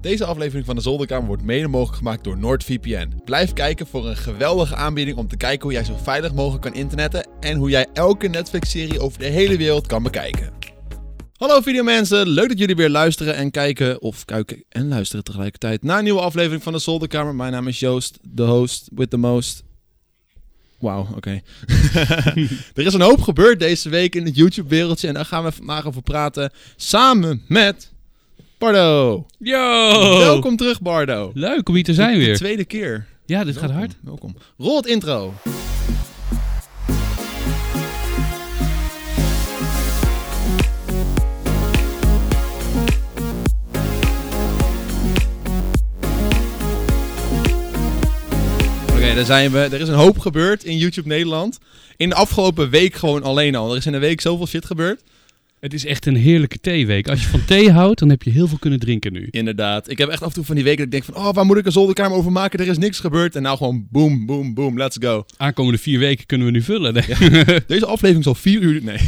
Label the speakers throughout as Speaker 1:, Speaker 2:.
Speaker 1: Deze aflevering van de Zolderkamer wordt mede mogelijk gemaakt door NordVPN. Blijf kijken voor een geweldige aanbieding om te kijken hoe jij zo veilig mogelijk kan internetten en hoe jij elke Netflix-serie over de hele wereld kan bekijken. Hallo videomensen, leuk dat jullie weer luisteren en kijken, of kijken en luisteren tegelijkertijd, naar een nieuwe aflevering van de Zolderkamer. Mijn naam is Joost, de host with the most. Wauw, oké. er is een hoop gebeurd deze week in het YouTube-wereldje en daar gaan we vandaag over praten, samen met Bardo.
Speaker 2: Yo!
Speaker 1: Welkom terug, Bardo.
Speaker 2: Oh. Leuk om hier te zijn
Speaker 1: De
Speaker 2: weer.
Speaker 1: tweede keer. Oh,
Speaker 2: Ja, dit gaat hard.
Speaker 1: Welkom. Rol het intro. Oké, daar zijn we. Er is een hoop gebeurd in YouTube Nederland. In de afgelopen week gewoon alleen al. Er is in een week zoveel shit gebeurd.
Speaker 2: Het is echt een heerlijke theeweek. Als je van thee houdt, dan heb je heel veel kunnen drinken nu.
Speaker 1: Inderdaad. Ik heb echt af en toe van die weken dat ik denk van... Oh, waar moet ik een zolderkamer over maken? Er is niks gebeurd. En nou gewoon boom, boom, boom. Let's go.
Speaker 2: Aankomende vier weken kunnen we nu vullen. denk ik.
Speaker 1: Deze aflevering zal vier uur... Nee.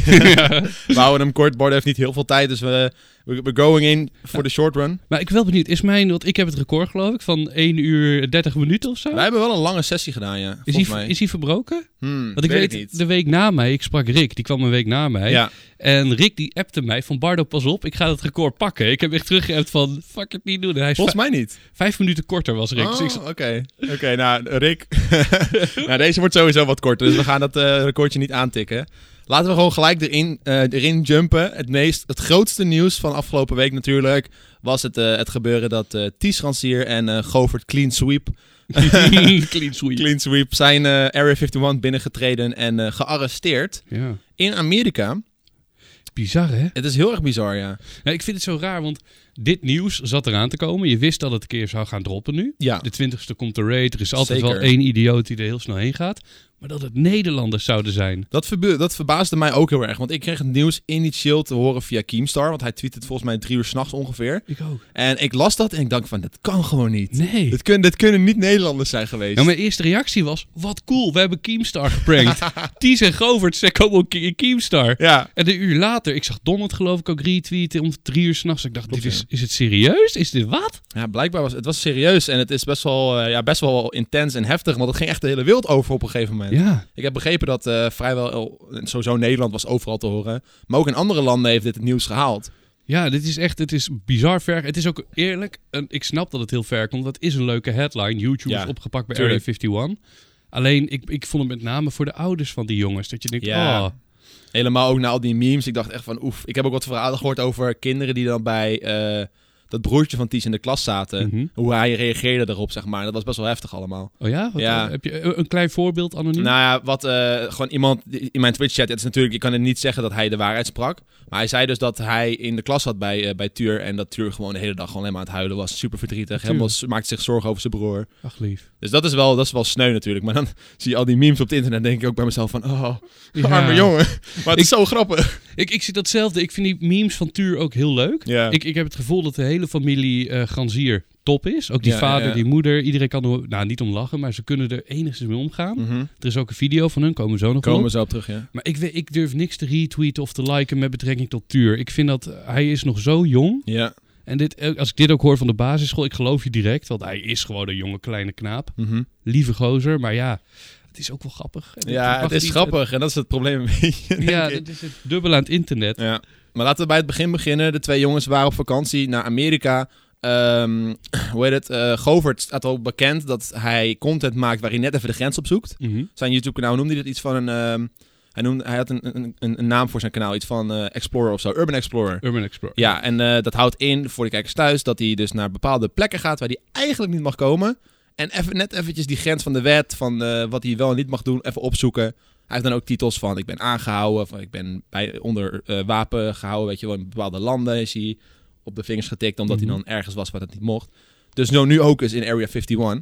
Speaker 1: we houden hem kort. Bart heeft niet heel veel tijd. Dus we, we- we're going in for the short run.
Speaker 2: Maar ik ben wel benieuwd, is mijn, want ik heb het record geloof ik, van 1 uur 30 minuten of zo?
Speaker 1: Wij hebben wel een lange sessie gedaan, ja.
Speaker 2: Is
Speaker 1: volgens
Speaker 2: hij,
Speaker 1: mij.
Speaker 2: is hij verbroken?
Speaker 1: Hmm,
Speaker 2: Want ik weet,
Speaker 1: het
Speaker 2: de week na mij, ik sprak Rick, die kwam een week na mij.
Speaker 1: Ja.
Speaker 2: En Rick die appte mij van Bardo, pas op, ik ga dat record pakken. Ik heb echt teruggeappt van, fuck het niet doen. En hij is
Speaker 1: Volgens
Speaker 2: vij-
Speaker 1: mij niet.
Speaker 2: vijf minuten korter was Rick. Dus ik
Speaker 1: Oh,
Speaker 2: zei,
Speaker 1: Oké, Oké, nou Rick. nou, deze wordt sowieso wat korter, dus we gaan dat eh, recordje niet aantikken. Laten we gewoon gelijk erin, eh, erin jumpen. Het, meest, het grootste nieuws van afgelopen week natuurlijk was het, eh, het gebeuren dat eh Ties Ransier en eh Govert Clean Sweep
Speaker 2: Clean sweep.
Speaker 1: Clean Sweep zijn eh, Area 51 binnengetreden en eh, gearresteerd
Speaker 2: Ja.
Speaker 1: in Amerika.
Speaker 2: Bizar hè?
Speaker 1: Het is heel erg bizar, ja.
Speaker 2: Nou, ik vind het zo raar, want dit nieuws zat eraan te komen. Je wist dat het een keer zou gaan droppen nu.
Speaker 1: Ja,
Speaker 2: De twintigste komt de raid. Er is altijd
Speaker 1: Zeker.
Speaker 2: wel één idioot die er heel snel heen gaat. Maar dat het Nederlanders zouden zijn.
Speaker 1: dat, verbe- dat verbaasde mij ook heel erg. Want ik kreeg het nieuws initieel te horen via Keemstar. Want hij tweet het volgens mij drie uur s'nachts ongeveer.
Speaker 2: Ik ook.
Speaker 1: En ik las dat en ik dacht van, dat kan gewoon niet.
Speaker 2: Nee.
Speaker 1: Dit, kun- dit kunnen niet Nederlanders zijn geweest.
Speaker 2: Nou, mijn eerste reactie was, wat cool, we hebben Keemstar geprankt. Ties en Govert, ze komen ook in Keemstar.
Speaker 1: Ja,
Speaker 2: En een uur later, ik zag Donald geloof ik ook retweeten om drie uur s'nachts. Ik dacht,
Speaker 1: Klopt,
Speaker 2: dit is, is het serieus? Is dit wat?
Speaker 1: ja, blijkbaar was het was serieus en het is best wel, eh, ja, best wel intens en heftig. Want het ging echt de hele wereld over op een gegeven moment.
Speaker 2: Ja.
Speaker 1: Ik heb begrepen dat eh, vrijwel, sowieso Nederland was overal te horen. Maar ook in andere landen heeft dit het nieuws gehaald.
Speaker 2: Ja, dit is echt, het is bizar ver. Het is ook eerlijk, en ik snap dat het heel ver komt. Dat is een leuke headline. YouTube
Speaker 1: Ja,
Speaker 2: is opgepakt bij
Speaker 1: tuurlijk.
Speaker 2: Area 51. Alleen, ik, ik vond het met name voor de ouders van die jongens. Dat je denkt,
Speaker 1: Ja.
Speaker 2: oh,
Speaker 1: Helemaal ook na al die memes. Ik dacht echt van oef. Ik heb ook wat verhalen gehoord over kinderen die dan bij eh, dat broertje van Ties in de klas zaten.
Speaker 2: Mhm.
Speaker 1: Hoe hij reageerde erop, zeg maar. Dat was best wel heftig allemaal.
Speaker 2: oh ja? Wat,
Speaker 1: Ja.
Speaker 2: eh, Heb je een een klein voorbeeld anoniem?
Speaker 1: Nou ja, wat eh, gewoon iemand die- in mijn Twitch-chat. Het is natuurlijk, ik kan het niet zeggen dat hij de waarheid sprak. Maar hij zei dus dat hij in de klas zat bij, eh, bij Tuur. En dat Tuur gewoon de hele dag gewoon alleen maar aan het huilen was. Super verdrietig.
Speaker 2: Tuur.
Speaker 1: Helemaal s- maakte zich zorgen over zijn broer.
Speaker 2: Ach lief.
Speaker 1: Dus dat is, wel, dat is wel sneu natuurlijk. Maar dan zie je al die memes op het internet. Denk ik ook bij mezelf van, oh, arme
Speaker 2: Ja.
Speaker 1: jongen. Maar het is zo grappig.
Speaker 2: Ik, ik zie datzelfde. Ik vind die memes van Tuur ook heel leuk.
Speaker 1: Ja.
Speaker 2: Ik, ik heb het gevoel dat de hele familie eh Granzier top is. Ook die
Speaker 1: Ja,
Speaker 2: vader,
Speaker 1: ja.
Speaker 2: die moeder. Iedereen kan er, nou niet om lachen, maar ze kunnen er enigszins mee omgaan.
Speaker 1: Mhm.
Speaker 2: Er is ook een video van hun, komen we zo nog op.
Speaker 1: Komen we zo op terug, ja.
Speaker 2: Maar ik, weet, ik durf niks te retweeten of te liken met betrekking tot Tuur. Ik vind dat eh, hij is nog zo jong.
Speaker 1: Ja.
Speaker 2: En dit, eh, als ik dit ook hoor van de basisschool, ik geloof je direct. Want hij is gewoon een jonge kleine knaap.
Speaker 1: Mhm.
Speaker 2: Lieve gozer, maar ja, het is ook wel grappig. En
Speaker 1: Ja,
Speaker 2: mag
Speaker 1: het is
Speaker 2: niet-
Speaker 1: grappig en dat is het probleem een beetje.
Speaker 2: het-
Speaker 1: denk
Speaker 2: ja,
Speaker 1: ik.
Speaker 2: dit is het dubbele aan het internet.
Speaker 1: ja. Maar laten we bij het begin beginnen. De twee jongens waren op vakantie naar Amerika. Ehm, hoe heet het? Eh Govert staat al bekend dat hij content maakt waar hij net even de grens op zoekt.
Speaker 2: Mhm.
Speaker 1: Zijn YouTube-kanaal noemde hij dat iets van een... ehm, hij, noemde, hij had een, een, een, een naam voor zijn kanaal, iets van eh, Explorer of zo, Urban Explorer.
Speaker 2: Urban Explorer.
Speaker 1: Ja, en eh, dat houdt in voor de kijkers thuis dat hij dus naar bepaalde plekken gaat waar hij eigenlijk niet mag komen. En even, net eventjes die grens van de wet, van eh, wat hij wel en niet mag doen, even opzoeken. Hij heeft dan ook titels van ik ben aangehouden, van ik ben bij, onder eh, wapen gehouden, weet je wel, in bepaalde landen is hij op de vingers getikt omdat
Speaker 2: Mhm.
Speaker 1: hij dan ergens was waar dat niet mocht. Dus nou, nu ook is in Area 51.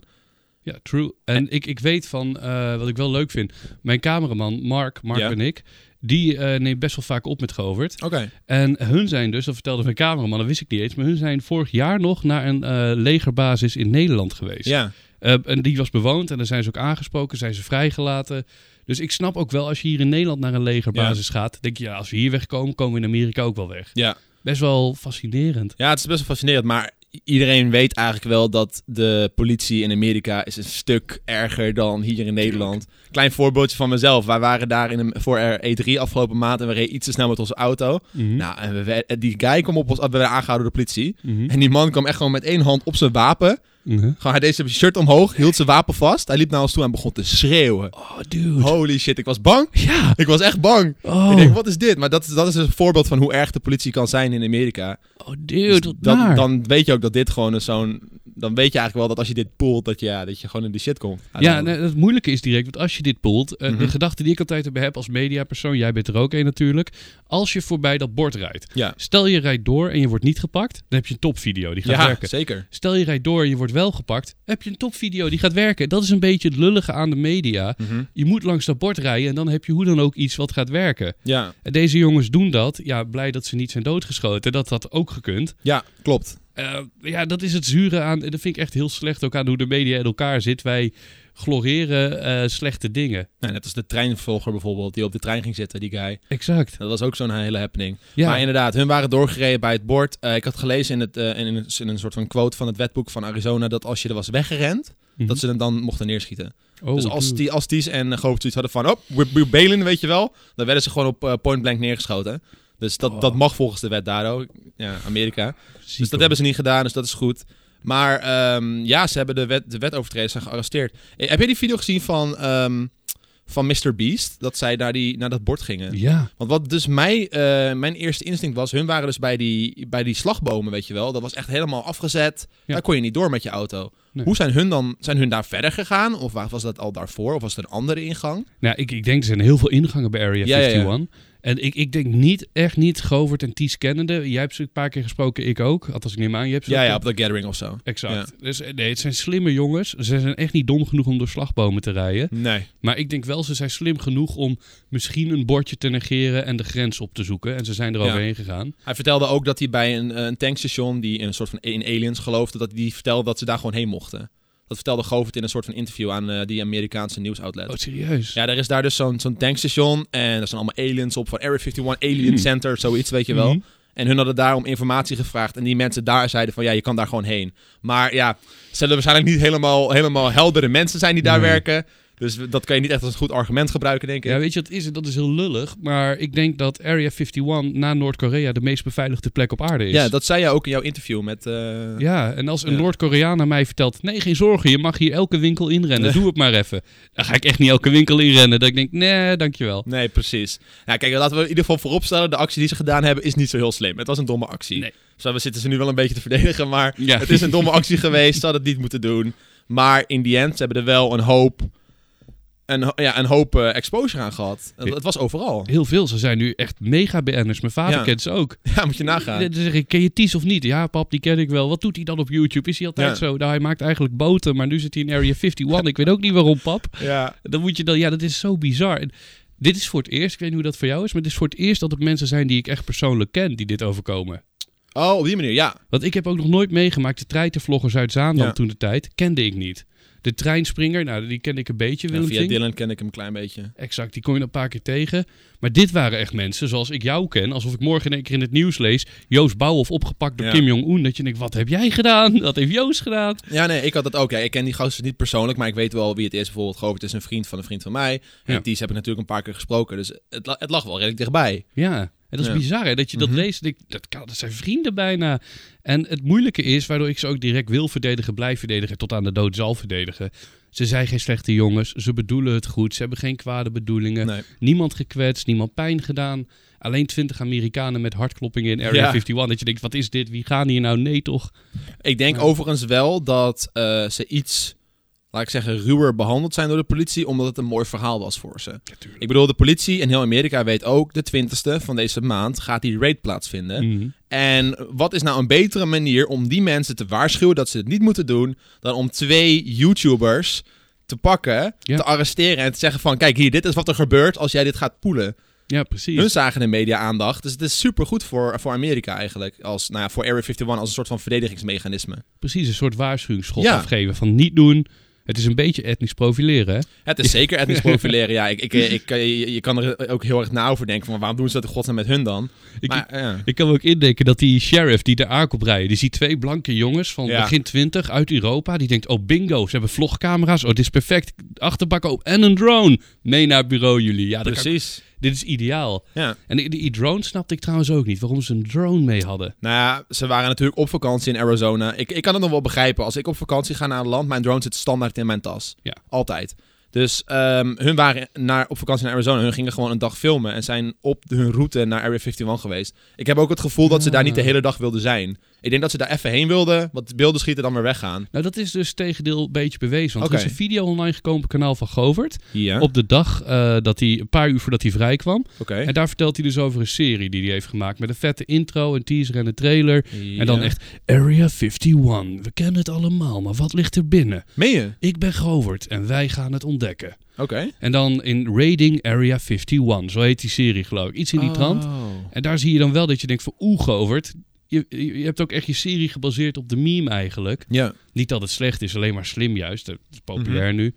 Speaker 2: Ja, true. En ik, ik weet van, eh, wat ik wel leuk vind, mijn cameraman Mark, Mark
Speaker 1: Ja.
Speaker 2: en ik, die eh, neemt best wel vaak op met Govert.
Speaker 1: Oké.
Speaker 2: En hun zijn dus, dat vertelde mijn cameraman, dat wist ik niet eens, maar hun zijn vorig jaar nog naar een eh, legerbasis in Nederland geweest.
Speaker 1: Ja.
Speaker 2: Eh, en die was bewoond en daar zijn ze ook aangesproken, zijn ze vrijgelaten. Dus ik snap ook wel, als je hier in Nederland naar een legerbasis gaat, denk je, ja, als we hier wegkomen, komen we in Amerika ook wel weg.
Speaker 1: Ja.
Speaker 2: Best wel fascinerend.
Speaker 1: ja, het is best wel fascinerend, maar iedereen weet eigenlijk wel dat de politie in Amerika is een stuk erger dan hier in Nederland. Klein voorbeeldje van mezelf. Wij waren daar in een, voor E3 afgelopen maand en we reden iets te snel met onze auto.
Speaker 2: Mhm.
Speaker 1: Nou, en we, werd- die guy kwam op ons af, we werden aangehouden door de politie.
Speaker 2: Mhm.
Speaker 1: En die man kwam echt gewoon met één hand op zijn wapen.
Speaker 2: Mhm.
Speaker 1: Gewoon, hij deed zijn shirt omhoog, hield zijn wapen vast. Hij liep naar ons toe en begon te schreeuwen.
Speaker 2: Oh, dude.
Speaker 1: Holy shit, ik was bang.
Speaker 2: Ja.
Speaker 1: Ik was echt bang.
Speaker 2: Oh,
Speaker 1: Ik denk, wat is dit? Maar dat, is- dat is een voorbeeld van hoe erg de politie kan zijn in Amerika.
Speaker 2: oh dude,
Speaker 1: Dus
Speaker 2: wat
Speaker 1: dat-
Speaker 2: naar.
Speaker 1: dan weet je ook dat dit gewoon een zo'n... Dan weet je eigenlijk wel dat als je dit poelt, dat je, ja, dat je gewoon in de shit komt.
Speaker 2: Ja, nee, het moeilijke is direct, want als je dit poelt, eh,
Speaker 1: Mhm.
Speaker 2: de gedachte die ik altijd erbij heb als mediapersoon, jij bent er ook een natuurlijk, als je voorbij dat bord rijdt.
Speaker 1: Ja.
Speaker 2: Stel je rijdt door en je wordt niet gepakt, dan heb je een topvideo die gaat
Speaker 1: Ja,
Speaker 2: werken.
Speaker 1: zeker.
Speaker 2: Stel je rijdt door en je wordt wel gepakt, heb je een topvideo die gaat werken. Dat is een beetje het lullige aan de media.
Speaker 1: Mhm.
Speaker 2: Je moet langs dat bord rijden en dan heb je hoe dan ook iets wat gaat werken.
Speaker 1: Ja.
Speaker 2: En deze jongens doen dat. Ja, blij dat ze niet zijn doodgeschoten. Dat had ook gekund.
Speaker 1: ja, klopt.
Speaker 2: Eh, ja, dat is het zure aan. En dat vind ik echt heel slecht ook aan hoe de media in elkaar zit. Wij gloreren eh, slechte dingen.
Speaker 1: Nou, net als de treinvervolger bijvoorbeeld, die op de trein ging zitten, die guy.
Speaker 2: Exact.
Speaker 1: Dat was ook zo'n hele happening.
Speaker 2: Ja.
Speaker 1: Maar inderdaad, hun waren doorgereden bij het bord. Eh, ik had gelezen in, het, eh, in, een, in een soort van quote van het wetboek van Arizona... dat als je er was weggerend,
Speaker 2: Mhm.
Speaker 1: dat ze hem dan mochten neerschieten.
Speaker 2: Oh,
Speaker 1: dus als,
Speaker 2: dude.
Speaker 1: die, als Ties en Goop zoiets hadden van... oh, we, we bailen, weet je wel. Dan werden ze gewoon op eh, point blank neergeschoten. Dus dat,
Speaker 2: Oh.
Speaker 1: dat mag volgens de wet daar ook. Ja, Amerika.
Speaker 2: Ziek,
Speaker 1: Dus dat
Speaker 2: hoor.
Speaker 1: hebben ze niet gedaan, dus dat is goed. Maar ehm, ja, ze hebben de, wet, de wetovertreders zijn gearresteerd. Eh, Heb je die video gezien van, ehm, van Mr. Beast? Dat zij naar, die, naar dat bord gingen.
Speaker 2: Ja.
Speaker 1: Want wat dus mij, eh, mijn eerste instinct was... hun waren dus bij die, bij die slagbomen, weet je wel. Dat was echt helemaal afgezet.
Speaker 2: Ja.
Speaker 1: Daar kon je niet door met je auto.
Speaker 2: Nee.
Speaker 1: Hoe zijn hun dan... Zijn hun daar verder gegaan? Of wa- was dat al daarvoor? Of was het een andere ingang?
Speaker 2: Nou, ik, ik denk er zijn heel veel ingangen bij Area
Speaker 1: Ja, ja, ja.
Speaker 2: 51. En ik, ik denk niet, echt niet, Govert en Ties kennende. Jij hebt ze een paar keer gesproken, ik ook. Althans, ik neem aan, je hebt ze
Speaker 1: Ja,
Speaker 2: ook-
Speaker 1: ja, op dat gathering of zo.
Speaker 2: Exact. Dus eh, nee, het zijn slimme jongens. Ze zijn echt niet dom genoeg om door slagbomen te rijden.
Speaker 1: Nee.
Speaker 2: Maar ik denk wel, ze zijn slim genoeg om misschien een bordje te negeren en de grens op te zoeken. En ze zijn er
Speaker 1: Ja.
Speaker 2: overheen gegaan.
Speaker 1: Hij vertelde ook dat hij bij een, eh, een tankstation die in een soort van in aliens geloofde, dat die vertelde dat ze daar gewoon heen mochten. Dat vertelde Govert in een soort van interview aan eh, die Amerikaanse nieuwsoutlet.
Speaker 2: Oh, serieus?
Speaker 1: ja, er is daar dus zo'n zo'n tankstation en er zijn allemaal aliens op van Area 51 Alien
Speaker 2: Hmm.
Speaker 1: Center, zoiets weet je wel.
Speaker 2: Mhm.
Speaker 1: En hun hadden daar om informatie gevraagd en die mensen daar zeiden van ja, je kan daar gewoon heen. Maar ja, ze zullen waarschijnlijk niet helemaal, helemaal heldere mensen zijn die daar
Speaker 2: Nee.
Speaker 1: werken. Dus dat kan je niet echt als een goed argument gebruiken, denk ik.
Speaker 2: Ja, weet je, dat is, het. dat is heel lullig. Maar ik denk dat Area 51 na Noord-Korea de meest beveiligde plek op aarde is.
Speaker 1: Ja, dat zei jij ook in jouw interview met... eh,
Speaker 2: Ja, en als een
Speaker 1: Ja.
Speaker 2: Noord-Koreaan aan mij vertelt... nee, geen zorgen, je mag hier elke winkel inrennen. Doe het maar even. Dan ga ik echt niet elke winkel inrennen. Dat ik denk, nee, dankjewel.
Speaker 1: Nee, precies. Nou, kijk, laten we in ieder geval vooropstellen: de actie die ze gedaan hebben is niet zo heel slim. Het was een domme actie.
Speaker 2: Nee.
Speaker 1: Zo, we zitten ze nu wel een beetje te verdedigen, maar
Speaker 2: Ja.
Speaker 1: het is een domme actie geweest. Ze hadden het niet moeten doen. Maar in die end, ze hebben er wel een hoop, een, ho- ja, een hoop eh, exposure aan gehad. Het, het was overal.
Speaker 2: Heel veel, ze zijn nu echt mega BN'ers. Mijn vader
Speaker 1: Ja.
Speaker 2: kent ze ook.
Speaker 1: Ja, moet je nagaan.
Speaker 2: Dan zeg ik, ken je Ties of niet? Ja, pap, die ken ik wel. Wat doet hij dan op YouTube? Is hij altijd
Speaker 1: Ja.
Speaker 2: zo? Nou, hij maakt eigenlijk boten, maar nu zit hij in Area 51. ik weet ook niet waarom, pap.
Speaker 1: Ja.
Speaker 2: Dan moet je dan... Ja, dat is zo bizar. En dit is voor het eerst, ik weet niet hoe dat voor jou is... maar het is voor het eerst dat het mensen zijn die ik echt persoonlijk ken... die dit overkomen.
Speaker 1: Oh, op die manier, ja.
Speaker 2: Want ik heb ook nog nooit meegemaakt... de treitervloggers uit Zaandam
Speaker 1: Ja.
Speaker 2: toen de tijd... kende ik niet. De treinspringer, nou, die kende ik een beetje,
Speaker 1: Ja,
Speaker 2: Willem
Speaker 1: via
Speaker 2: Vink.
Speaker 1: Dylan ken ik hem een klein beetje.
Speaker 2: Exact, die kom je een paar keer tegen. Maar dit waren echt mensen zoals ik jou ken. Alsof ik morgen in één keer in het nieuws lees... Joost Bouwhoff opgepakt door
Speaker 1: Ja.
Speaker 2: Kim Jong-un. Dat je denkt, wat heb jij gedaan? Wat heeft Joost gedaan?
Speaker 1: Ja, nee, ik had dat ook. Ja, ik ken die gozer niet persoonlijk, maar ik weet wel wie het is. Bijvoorbeeld, Govert is een vriend van een vriend van mij. En
Speaker 2: Ja.
Speaker 1: die heb ik natuurlijk een paar keer gesproken. Dus het, la- het lag wel redelijk dichtbij.
Speaker 2: Ja, en dat is
Speaker 1: Ja.
Speaker 2: bizar hè, dat je dat
Speaker 1: Mhm.
Speaker 2: leest. Ik, dat, kan, dat zijn vrienden bijna. En het moeilijke is, waardoor ik ze ook direct wil verdedigen... blijf verdedigen, tot aan de dood zal verdedigen... Ze zijn geen slechte jongens, ze bedoelen het goed, ze hebben geen kwade bedoelingen.
Speaker 1: Nee.
Speaker 2: Niemand gekwetst, niemand pijn gedaan. Alleen 20 Amerikanen met hartkloppingen in Area
Speaker 1: Ja.
Speaker 2: 51. Dat je denkt, wat is dit? Wie gaan hier nou? Nee toch?
Speaker 1: Ik denk
Speaker 2: Ja.
Speaker 1: overigens wel dat eh, ze iets, laat ik zeggen, ruwer behandeld zijn door de politie, omdat het een mooi verhaal was voor ze. Ik bedoel, de politie en heel Amerika weet ook, de 20ste van deze maand gaat die raid plaatsvinden.
Speaker 2: Mhm.
Speaker 1: En wat is nou een betere manier om die mensen te waarschuwen dat ze het niet moeten doen, dan om twee YouTubers te pakken,
Speaker 2: Ja.
Speaker 1: te arresteren en te zeggen van, kijk hier, dit is wat er gebeurt als jij dit gaat poelen.
Speaker 2: Ja, precies.
Speaker 1: Hun zagen de media-aandacht, dus het is supergoed voor, voor Amerika eigenlijk, als, nou ja, voor Area 51 als een soort van verdedigingsmechanisme.
Speaker 2: precies een soort waarschuwingsschot
Speaker 1: Ja.
Speaker 2: afgeven van niet doen. Het is een beetje etnisch profileren, hè?
Speaker 1: Het is zeker etnisch profileren, ja. Ik, ik, ik, eh, je, je kan er ook heel erg na over denken van waarom doen ze dat in godsnaam met hun dan?
Speaker 2: Ik-
Speaker 1: Maar, ja.
Speaker 2: Ik kan me ook indenken dat die sheriff die daar aankomt rijden, die ziet twee blanke jongens van
Speaker 1: Ja.
Speaker 2: begin 20 uit Europa. Die denkt, oh bingo, ze hebben vlogcamera's. Oh, dit is perfect. Achterbak op en een drone. Mee naar het bureau jullie. Ja, dat kan-
Speaker 1: Precies.
Speaker 2: dit is ideaal.
Speaker 1: Ja.
Speaker 2: En die, die drone snapte ik trouwens ook niet, waarom ze een drone mee hadden.
Speaker 1: Nou ja, ze waren natuurlijk op vakantie in Arizona. Ik, ik kan het nog wel begrijpen. Als ik op vakantie ga naar een land, mijn drone zit standaard in mijn tas.
Speaker 2: Ja.
Speaker 1: Altijd. Dus ehm, hun waren naar, op vakantie naar Arizona. Hun gingen gewoon een dag filmen en zijn op hun route naar Area 51 geweest. Ik heb ook het gevoel dat ze daar
Speaker 2: Ah.
Speaker 1: niet de hele dag wilden zijn. Ik denk dat ze daar even heen wilden, wat beelden schieten dan weer weggaan.
Speaker 2: Nou, dat is dus tegendeel een beetje bewezen. Want
Speaker 1: Oké.
Speaker 2: er is een video online gekomen op het kanaal van Govert.
Speaker 1: Ja, oké.
Speaker 2: Op de dag eh, dat hij, een paar uur voordat hij vrij kwam. En daar vertelt hij dus over een serie die hij heeft gemaakt. Met een vette intro, een teaser en een trailer. En dan
Speaker 1: Ja.
Speaker 2: echt Area 51. We kennen het allemaal, maar wat ligt er binnen?
Speaker 1: Meen je?
Speaker 2: Ik ben Govert en wij gaan het ontdekken.
Speaker 1: Oké.
Speaker 2: En dan in Raiding Area 51. Zo heet die serie geloof ik. Iets in die
Speaker 1: Oh.
Speaker 2: trant. En daar zie je dan wel dat je denkt van oeh Govert. Je, je je hebt ook echt je serie gebaseerd op de meme eigenlijk.
Speaker 1: Ja.
Speaker 2: Niet dat het slecht is, alleen maar slim juist. Dat is populair nu.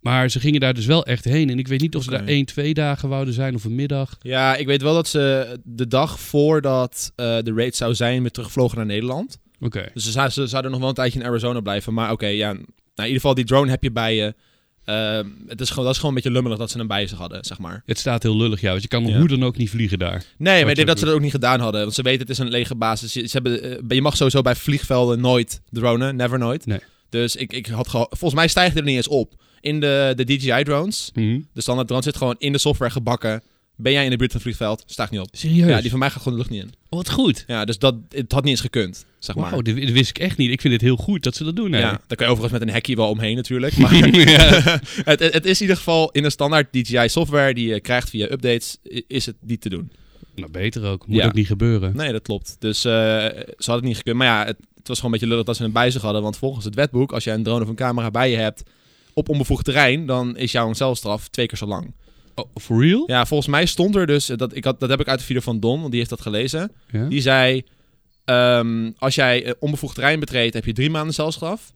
Speaker 2: Maar ze gingen daar dus wel echt heen. En ik weet niet of
Speaker 1: Mhm. Oké.
Speaker 2: ze daar één, twee dagen wouden zijn of een middag.
Speaker 1: ja, ik weet wel dat ze de dag voordat eh, de raid zou zijn, weer terugvlogen naar Nederland.
Speaker 2: Oké.
Speaker 1: Dus ze, zou- ze zouden nog wel een tijdje in Arizona blijven. Maar oké, ja. Nou, in ieder geval, die drone heb je bij je. Ehm, het is gewoon, dat is gewoon een beetje lummelig dat ze hem bij zich hadden, zeg maar.
Speaker 2: Het staat heel lullig, ja. Want je kan
Speaker 1: Ja.
Speaker 2: hoe dan ook niet vliegen daar.
Speaker 1: Nee, maar ik
Speaker 2: je
Speaker 1: denk dat
Speaker 2: ook
Speaker 1: ze dat ook niet gedaan hadden. Want ze weten, het is een lege basis. Je, ze hebben, eh, je mag sowieso bij vliegvelden nooit dronen. Never nooit.
Speaker 2: Nee.
Speaker 1: Dus ik, ik had geho- Volgens mij stijgt het er niet eens op. In de, de DJI-drones,
Speaker 2: Hm?
Speaker 1: de standaard drone, zit gewoon in de software gebakken. Ben jij in de buurt van het vliegveld? Stijgt niet op.
Speaker 2: Serieus?
Speaker 1: Ja, die van mij gaat gewoon de lucht niet in.
Speaker 2: Oh, wat goed.
Speaker 1: Ja, dus dat, het had niet eens gekund, zeg maar.
Speaker 2: Wauw, dit, dit wist ik echt niet. Ik vind het heel goed dat ze dat doen. hè.
Speaker 1: Ja, daar kan je overigens met een hekje wel omheen natuurlijk. Maar het, het, het is in ieder geval in de standaard DJI software die je krijgt via updates, i- is het niet te doen.
Speaker 2: Nou, beter ook. Moet
Speaker 1: Ja.
Speaker 2: ook niet gebeuren.
Speaker 1: Nee, dat klopt. Dus eh, ze hadden het niet gekund. Maar ja, het, het was gewoon een beetje lullig dat ze hem bij zich hadden. Want volgens het wetboek, als jij een drone of een camera bij je hebt op onbevoegd terrein, dan is jouw zelfstraf twee keer zo lang.
Speaker 2: Oh, for real?
Speaker 1: Ja, volgens mij stond er dus, eh, dat, ik had, dat heb ik uit de video van Don, want die heeft dat gelezen.
Speaker 2: Ja?
Speaker 1: Die zei: ehm, Als jij eh, onbevoegd terrein betreedt, heb je drie maanden celstraf.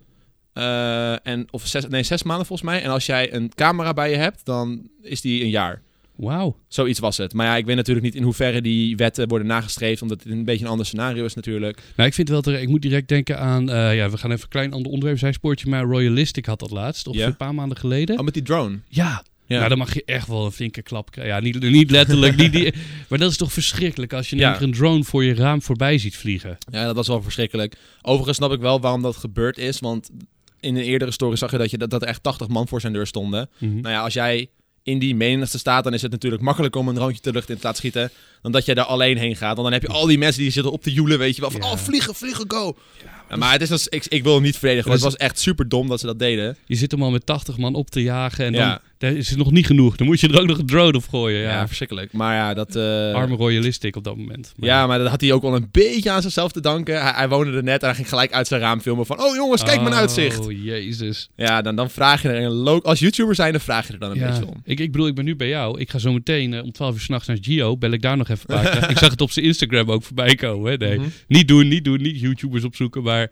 Speaker 1: Eh, en, of zes, nee, zes maanden volgens mij. En als jij een camera bij je hebt, dan is die een jaar.
Speaker 2: Wauw.
Speaker 1: Zoiets was het. Maar ja, ik weet natuurlijk niet in hoeverre die wetten worden nagestreefd, omdat het een beetje een ander scenario is natuurlijk.
Speaker 2: Nou, ik vind wel dat ik moet direct denken aan. eh, ja, we gaan even een klein ander onderwerp zijn. Spoortje, maar Royalistic had dat laatst. Of
Speaker 1: Ja.
Speaker 2: een paar maanden geleden.
Speaker 1: Oh, met die drone.
Speaker 2: Ja.
Speaker 1: Ja.
Speaker 2: Nou, dan mag je echt wel een flinke klap krijgen. Ja, niet, niet letterlijk. niet die, maar dat is toch verschrikkelijk als je in
Speaker 1: Ja.
Speaker 2: één keer een drone voor je raam voorbij ziet vliegen.
Speaker 1: Ja, dat was wel verschrikkelijk. Overigens snap ik wel waarom dat gebeurd is, want in een eerdere story zag je dat, je, dat, dat er echt 80 man voor zijn deur stonden.
Speaker 2: Mhm.
Speaker 1: Nou ja, als jij in die menigte staat, dan is het natuurlijk makkelijker om een rondje de lucht in te laten schieten. Dan dat jij daar alleen heen gaat. Want dan heb je al die mensen die zitten op te joelen, weet je wel. Van,
Speaker 2: Ja.
Speaker 1: oh, vliegen, vliegen, go. Ja, maar het is als, ik, ik wil hem niet verdedigen. Want het was echt super dom dat ze dat deden.
Speaker 2: Je zit hem al met 80 man op te jagen en
Speaker 1: Ja.
Speaker 2: dan daar is het nog niet genoeg. Dan moet je er ook nog een drone op gooien.
Speaker 1: Ja,
Speaker 2: Ja.
Speaker 1: verschrikkelijk. Maar ja, dat... eh,
Speaker 2: Arme Royalistic op dat moment. Maar-
Speaker 1: Ja, maar dat had hij ook wel een beetje aan zichzelf te danken. Hij, hij woonde er net en hij ging gelijk uit zijn raam filmen van... Oh jongens, kijk mijn uitzicht.
Speaker 2: Oh, jezus.
Speaker 1: Ja, dan, dan vraag je er een lo- Als YouTuber zijn, dan vraag je er dan een
Speaker 2: Ja.
Speaker 1: beetje om.
Speaker 2: Ik, ik bedoel, ik ben nu bij jou. Ik ga zo meteen eh, om 12 uur s'nachts naar Gio. Bel ik daar nog even een paar keer. Ik zag het op zijn Instagram ook voorbij komen. Hè? Nee.
Speaker 1: Mhm.
Speaker 2: Niet doen, niet doen, niet YouTubers opzoeken. Maar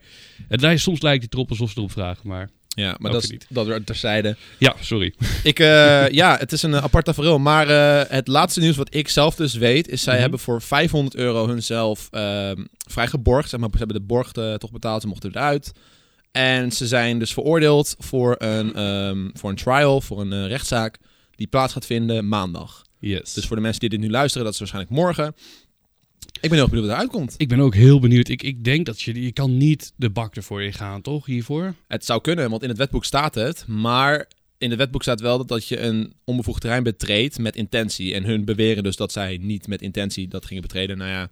Speaker 2: het lijkt, soms lijkt het erop alsof ze erop vragen. Maar
Speaker 1: Ja, maar
Speaker 2: Ook
Speaker 1: dat, is,
Speaker 2: niet.
Speaker 1: dat er- terzijde.
Speaker 2: ja, sorry.
Speaker 1: Ik, eh, ja, het is een eh, apart tafereel. Maar eh, het laatste nieuws wat ik zelf dus weet... is zij
Speaker 2: Mhm.
Speaker 1: hebben voor 500 euro hunzelf ehm vrijgeborgd. Zeg maar, ze hebben de borg eh, toch betaald. Ze mochten eruit. En ze zijn dus veroordeeld voor een, ehm, voor een trial, voor een eh, rechtszaak... die plaats gaat vinden maandag.
Speaker 2: Yes.
Speaker 1: Dus voor de mensen die dit nu luisteren, dat is waarschijnlijk morgen. Ik ben heel erg benieuwd wat eruit komt.
Speaker 2: ik ben ook heel benieuwd. Ik, ik denk dat je, je kan niet de bak ervoor in gaan, toch? Hiervoor?
Speaker 1: Het zou kunnen, want in het wetboek staat het. Maar in het wetboek staat wel dat, dat je een onbevoegd terrein betreedt met intentie. En hun beweren dus dat zij niet met intentie dat gingen betreden. Nou ja,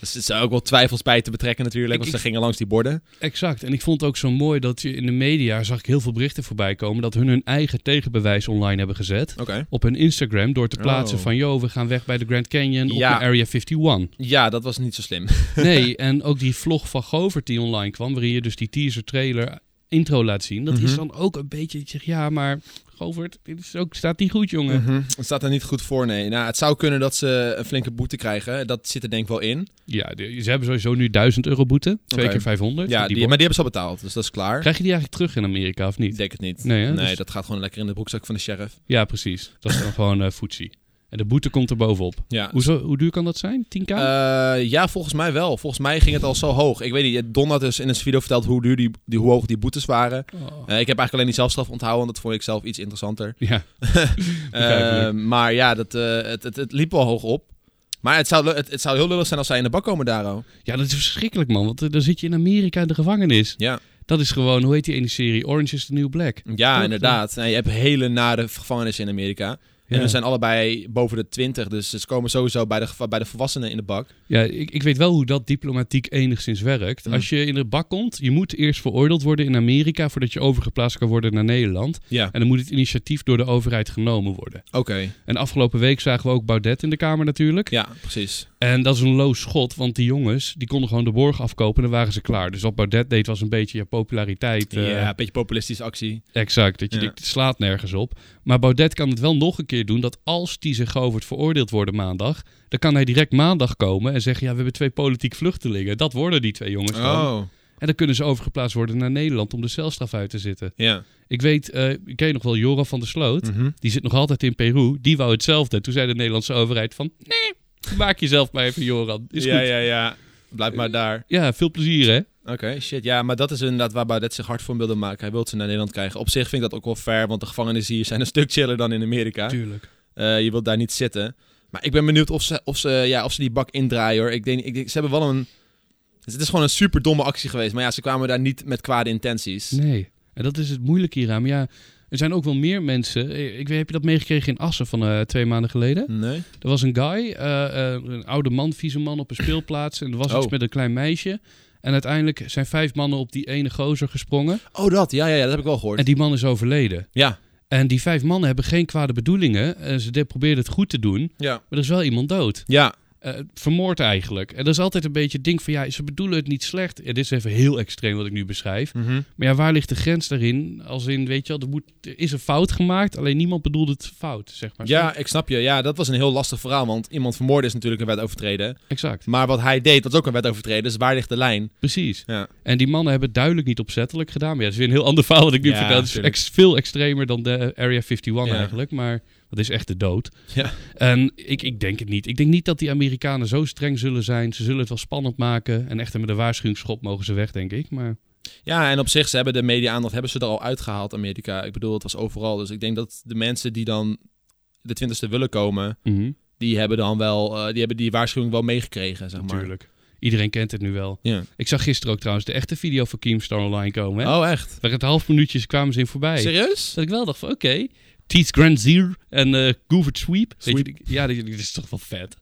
Speaker 1: dus er zijn ook wel twijfels bij te betrekken natuurlijk.
Speaker 2: Ik-
Speaker 1: want
Speaker 2: ik-
Speaker 1: ze gingen langs die borden.
Speaker 2: Exact. En ik vond het ook zo mooi dat je in de media zag ik heel veel berichten voorbij komen. dat hun hun eigen tegenbewijs online hebben gezet.
Speaker 1: Oké.
Speaker 2: Op hun Instagram door te plaatsen
Speaker 1: Oh.
Speaker 2: van... ...joh, we gaan weg bij de Grand Canyon op
Speaker 1: Ja.
Speaker 2: naar Area 51.
Speaker 1: Ja, dat was niet zo slim.
Speaker 2: Nee, en ook die vlog van Govert die online kwam, waarin je dus die teaser trailer intro laat zien, dat
Speaker 1: Mhm.
Speaker 2: is dan ook een beetje, ik zeg ja, maar Govert, dit is ook, staat niet goed, jongen.
Speaker 1: Mhm. Het staat er niet goed voor, nee. Nou, het zou kunnen dat ze een flinke boete krijgen. Dat zit er denk ik wel in.
Speaker 2: Ja, de- ze hebben sowieso nu 1000 euro boete, twee
Speaker 1: Oké.
Speaker 2: keer 500.
Speaker 1: Ja,
Speaker 2: Die
Speaker 1: die,
Speaker 2: bo-
Speaker 1: maar die hebben ze al betaald, dus dat is klaar.
Speaker 2: Krijg je die eigenlijk terug in Amerika of
Speaker 1: Ik
Speaker 2: niet?
Speaker 1: denk het niet.
Speaker 2: Nee, hè?
Speaker 1: nee
Speaker 2: Dus-
Speaker 1: dat gaat gewoon lekker in de broekzak van de sheriff.
Speaker 2: Ja, precies. Dat is dan gewoon eh footsie. En de boete komt er bovenop.
Speaker 1: Ja.
Speaker 2: Hoezo, hoe duur kan dat zijn? 10k?
Speaker 1: Eh, ja, volgens mij wel. Volgens mij ging het al zo hoog. Ik weet niet, Don had dus in een video verteld hoe, duur die, die, hoe hoog die boetes waren.
Speaker 2: Oh.
Speaker 1: Eh, ik heb eigenlijk alleen die zelfstraf onthouden, want dat vond ik zelf iets interessanter.
Speaker 2: Ja,
Speaker 1: Eh,
Speaker 2: Begrijpelijk.
Speaker 1: maar ja, dat, eh, het, het, het liep wel hoog op. Maar het zou, lu- het, het zou heel lullig zijn als zij in de bak komen, Daro.
Speaker 2: ja, dat is verschrikkelijk, man. Want eh, dan zit je in Amerika in de gevangenis.
Speaker 1: Ja,
Speaker 2: Dat is gewoon, hoe heet die ene serie? Orange is the New Black.
Speaker 1: ja
Speaker 2: Toch?
Speaker 1: inderdaad. Nou, je hebt hele nare gevangenissen in Amerika. En
Speaker 2: Ja,
Speaker 1: we zijn allebei boven de 20, dus ze komen sowieso bij de, geva- bij de volwassenen in de bak.
Speaker 2: ja ik, ik weet wel hoe dat diplomatiek enigszins werkt.
Speaker 1: Mm.
Speaker 2: Als je in de bak komt, je moet eerst veroordeeld worden in Amerika... voordat je overgeplaatst kan worden naar Nederland.
Speaker 1: Ja,
Speaker 2: En dan moet het initiatief door de overheid genomen worden.
Speaker 1: oké.
Speaker 2: En afgelopen week zagen we ook Baudet in de Kamer natuurlijk.
Speaker 1: Ja, precies.
Speaker 2: En dat is een loos schot, want die jongens die konden gewoon de borg afkopen en dan waren ze klaar. Dus wat Baudet deed was een beetje ja, populariteit. eh,
Speaker 1: ja, een beetje populistische actie.
Speaker 2: Exact, dat je
Speaker 1: Ja.
Speaker 2: denkt, het slaat nergens op. Maar Baudet kan het wel nog een keer doen, dat als die zich over veroordeeld worden maandag, dan kan hij direct maandag komen en zeggen, ja, we hebben twee politiek vluchtelingen. Dat worden die twee jongens dan.
Speaker 1: Oh,
Speaker 2: En dan kunnen ze overgeplaatst worden naar Nederland om de celstraf uit te zitten.
Speaker 1: ja.
Speaker 2: Ik weet, eh ik ken nog wel Joran van der Sloot,
Speaker 1: Mhm.
Speaker 2: die zit nog altijd in Peru, die wou hetzelfde. Toen zei de Nederlandse overheid van, nee, maak jezelf maar even Joran, is
Speaker 1: ja,
Speaker 2: goed.
Speaker 1: ja, ja. Blijf maar daar.
Speaker 2: Ja, veel plezier hè.
Speaker 1: Eh, Oké, shit. Ja, maar dat is inderdaad waar Baudet zich hard voor wilde maken. Hij wil ze naar Nederland krijgen. Op zich vind ik dat ook wel fair, want de gevangenissen hier zijn een stuk chiller dan in Amerika.
Speaker 2: Tuurlijk.
Speaker 1: Eh, je wilt daar niet zitten. Maar ik ben benieuwd of ze, of ze, ja, of ze die bak indraaien hoor. Ik denk, ik denk, ze hebben wel een... Het is gewoon een super domme actie geweest. Maar ja, ze kwamen daar niet met kwade intenties.
Speaker 2: Nee. En dat is het moeilijke hieraan. Maar ja, er zijn ook wel meer mensen. Eh, Ik weet, heb je dat meegekregen in Assen van eh, twee maanden geleden?
Speaker 1: Nee?
Speaker 2: Er was een guy, eh, eh, een oude man, vieze man op een speelplaats. En er was
Speaker 1: Oh.
Speaker 2: iets met een klein meisje. En uiteindelijk zijn vijf mannen op die ene gozer gesprongen.
Speaker 1: Oh, dat. Ja, ja, ja, dat heb ik wel gehoord.
Speaker 2: En die man is overleden.
Speaker 1: Ja.
Speaker 2: En die vijf mannen hebben geen kwade bedoelingen. En ze de- probeerden het goed te doen.
Speaker 1: Ja.
Speaker 2: Maar er is wel iemand dood.
Speaker 1: Ja.
Speaker 2: Eh, vermoord eigenlijk. En dat is altijd een beetje het ding van ja, ze bedoelen het niet slecht. Ja, dit is even heel extreem wat ik nu beschrijf.
Speaker 1: Mhm.
Speaker 2: Maar ja, waar ligt de grens daarin? Als in, weet je wel, er, moet, er is een fout gemaakt, alleen niemand bedoelt het fout, zeg maar.
Speaker 1: Ja, ik snap je. Ja, dat was een heel lastig verhaal. Want iemand vermoorden is natuurlijk een wet overtreden.
Speaker 2: Exact,
Speaker 1: Maar wat hij deed, was ook een wet overtreden. Dus waar ligt de lijn?
Speaker 2: precies.
Speaker 1: Ja.
Speaker 2: En die mannen hebben het duidelijk niet opzettelijk gedaan. Maar ja, dat is weer een heel ander verhaal wat ik nu
Speaker 1: Ja,
Speaker 2: vertel. Het is
Speaker 1: tuurlijk.
Speaker 2: ex- veel extremer dan de Area 51
Speaker 1: Ja.
Speaker 2: eigenlijk, maar dat is echt de dood.
Speaker 1: Ja.
Speaker 2: En ik, ik denk het niet. Ik denk niet dat die Amerikanen zo streng zullen zijn. Ze zullen het wel spannend maken en echt met een waarschuwingsschop mogen ze weg, denk ik. Maar
Speaker 1: Ja, en op zich, ze hebben de media-aandacht hebben ze er al uitgehaald, Amerika. Ik bedoel, het was overal. Dus ik denk dat de mensen die dan de twintigste willen komen,
Speaker 2: mhm,
Speaker 1: die hebben dan wel, eh, die hebben die waarschuwing wel meegekregen, zeg maar.
Speaker 2: natuurlijk. Iedereen kent het nu wel.
Speaker 1: Ja.
Speaker 2: Ik zag gisteren ook trouwens de echte video van Keemstar online komen. Hè?
Speaker 1: Oh, echt?
Speaker 2: Waar het half minuutjes kwamen ze in voorbij.
Speaker 1: Serieus?
Speaker 2: Dat ik wel dacht van, oké. Teeth Grand Zier en eh Goovert Sweep. Weet je,
Speaker 1: Sweep.
Speaker 2: ja, dit dit is toch wel vet.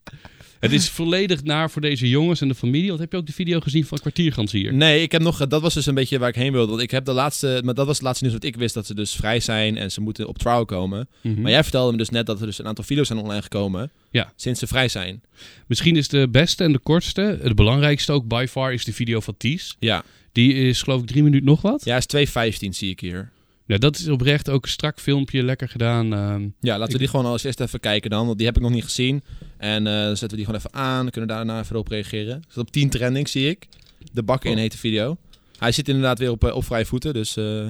Speaker 2: Het is volledig naar voor deze jongens en de familie. Want heb je ook de video gezien van Kwartierganshier?
Speaker 1: Nee, ik heb nog, dat was dus een beetje waar ik heen wilde. Want ik heb de laatste, maar dat was het laatste nieuws wat ik wist, dat ze dus vrij zijn en ze moeten op trial komen.
Speaker 2: Mhm.
Speaker 1: Maar jij vertelde me dus net dat er dus een aantal video's zijn online gekomen.
Speaker 2: Ja.
Speaker 1: Sinds ze vrij zijn.
Speaker 2: Misschien is de beste en de kortste, het belangrijkste ook by far, is de video van Ties.
Speaker 1: Ja.
Speaker 2: Die is geloof ik drie minuten nog wat.
Speaker 1: Ja, is 2.15 zie ik hier.
Speaker 2: Nou, dat is oprecht ook een strak filmpje, lekker gedaan. ehm.
Speaker 1: Ja, laten we die gewoon als eerst even kijken dan. Want die heb ik nog niet gezien. En eh, dan zetten we die gewoon even aan. Dan kunnen we daarna even op reageren. Zit op 10 trending, zie ik. De bak in
Speaker 2: Oh.
Speaker 1: hete video. Hij zit inderdaad weer op, eh, op vrije voeten. Dus eh,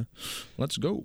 Speaker 1: let's go.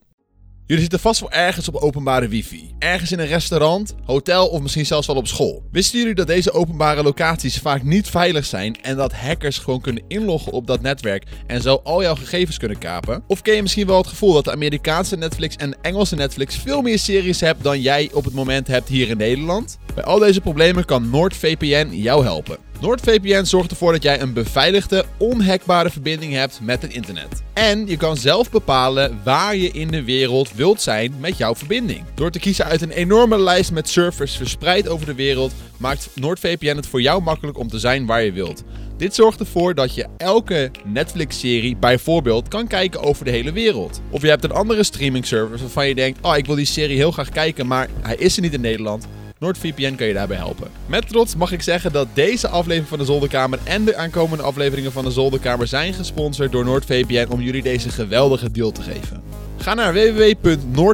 Speaker 1: Jullie zitten vast wel ergens op openbare wifi. Ergens in een restaurant, hotel of misschien zelfs wel op school. Wisten jullie dat deze openbare locaties vaak niet veilig zijn en dat hackers gewoon kunnen inloggen op dat netwerk en zo al jouw gegevens kunnen kapen? Of ken je misschien wel het gevoel dat de Amerikaanse Netflix en de Engelse Netflix veel meer series hebt dan jij op het moment hebt hier in Nederland? Bij al deze problemen kan NordVPN jou helpen. NordVPN zorgt ervoor dat jij een beveiligde, onhackbare verbinding hebt met het internet. En je kan zelf bepalen waar je in de wereld wilt zijn met jouw verbinding. Door te kiezen uit een enorme lijst met servers verspreid over de wereld, maakt NordVPN het voor jou makkelijk om te zijn waar je wilt. Dit zorgt ervoor dat je elke Netflix-serie bijvoorbeeld kan kijken over de hele wereld. Of je hebt een andere streaming service waarvan je denkt: Oh, ik wil die serie heel graag kijken, maar hij is er niet in Nederland. NordVPN kan je daarbij helpen. Met trots mag ik zeggen dat deze aflevering van de Zolderkamer en de aankomende afleveringen van de Zolderkamer zijn gesponsord door NordVPN om jullie deze geweldige deal te geven. Ga naar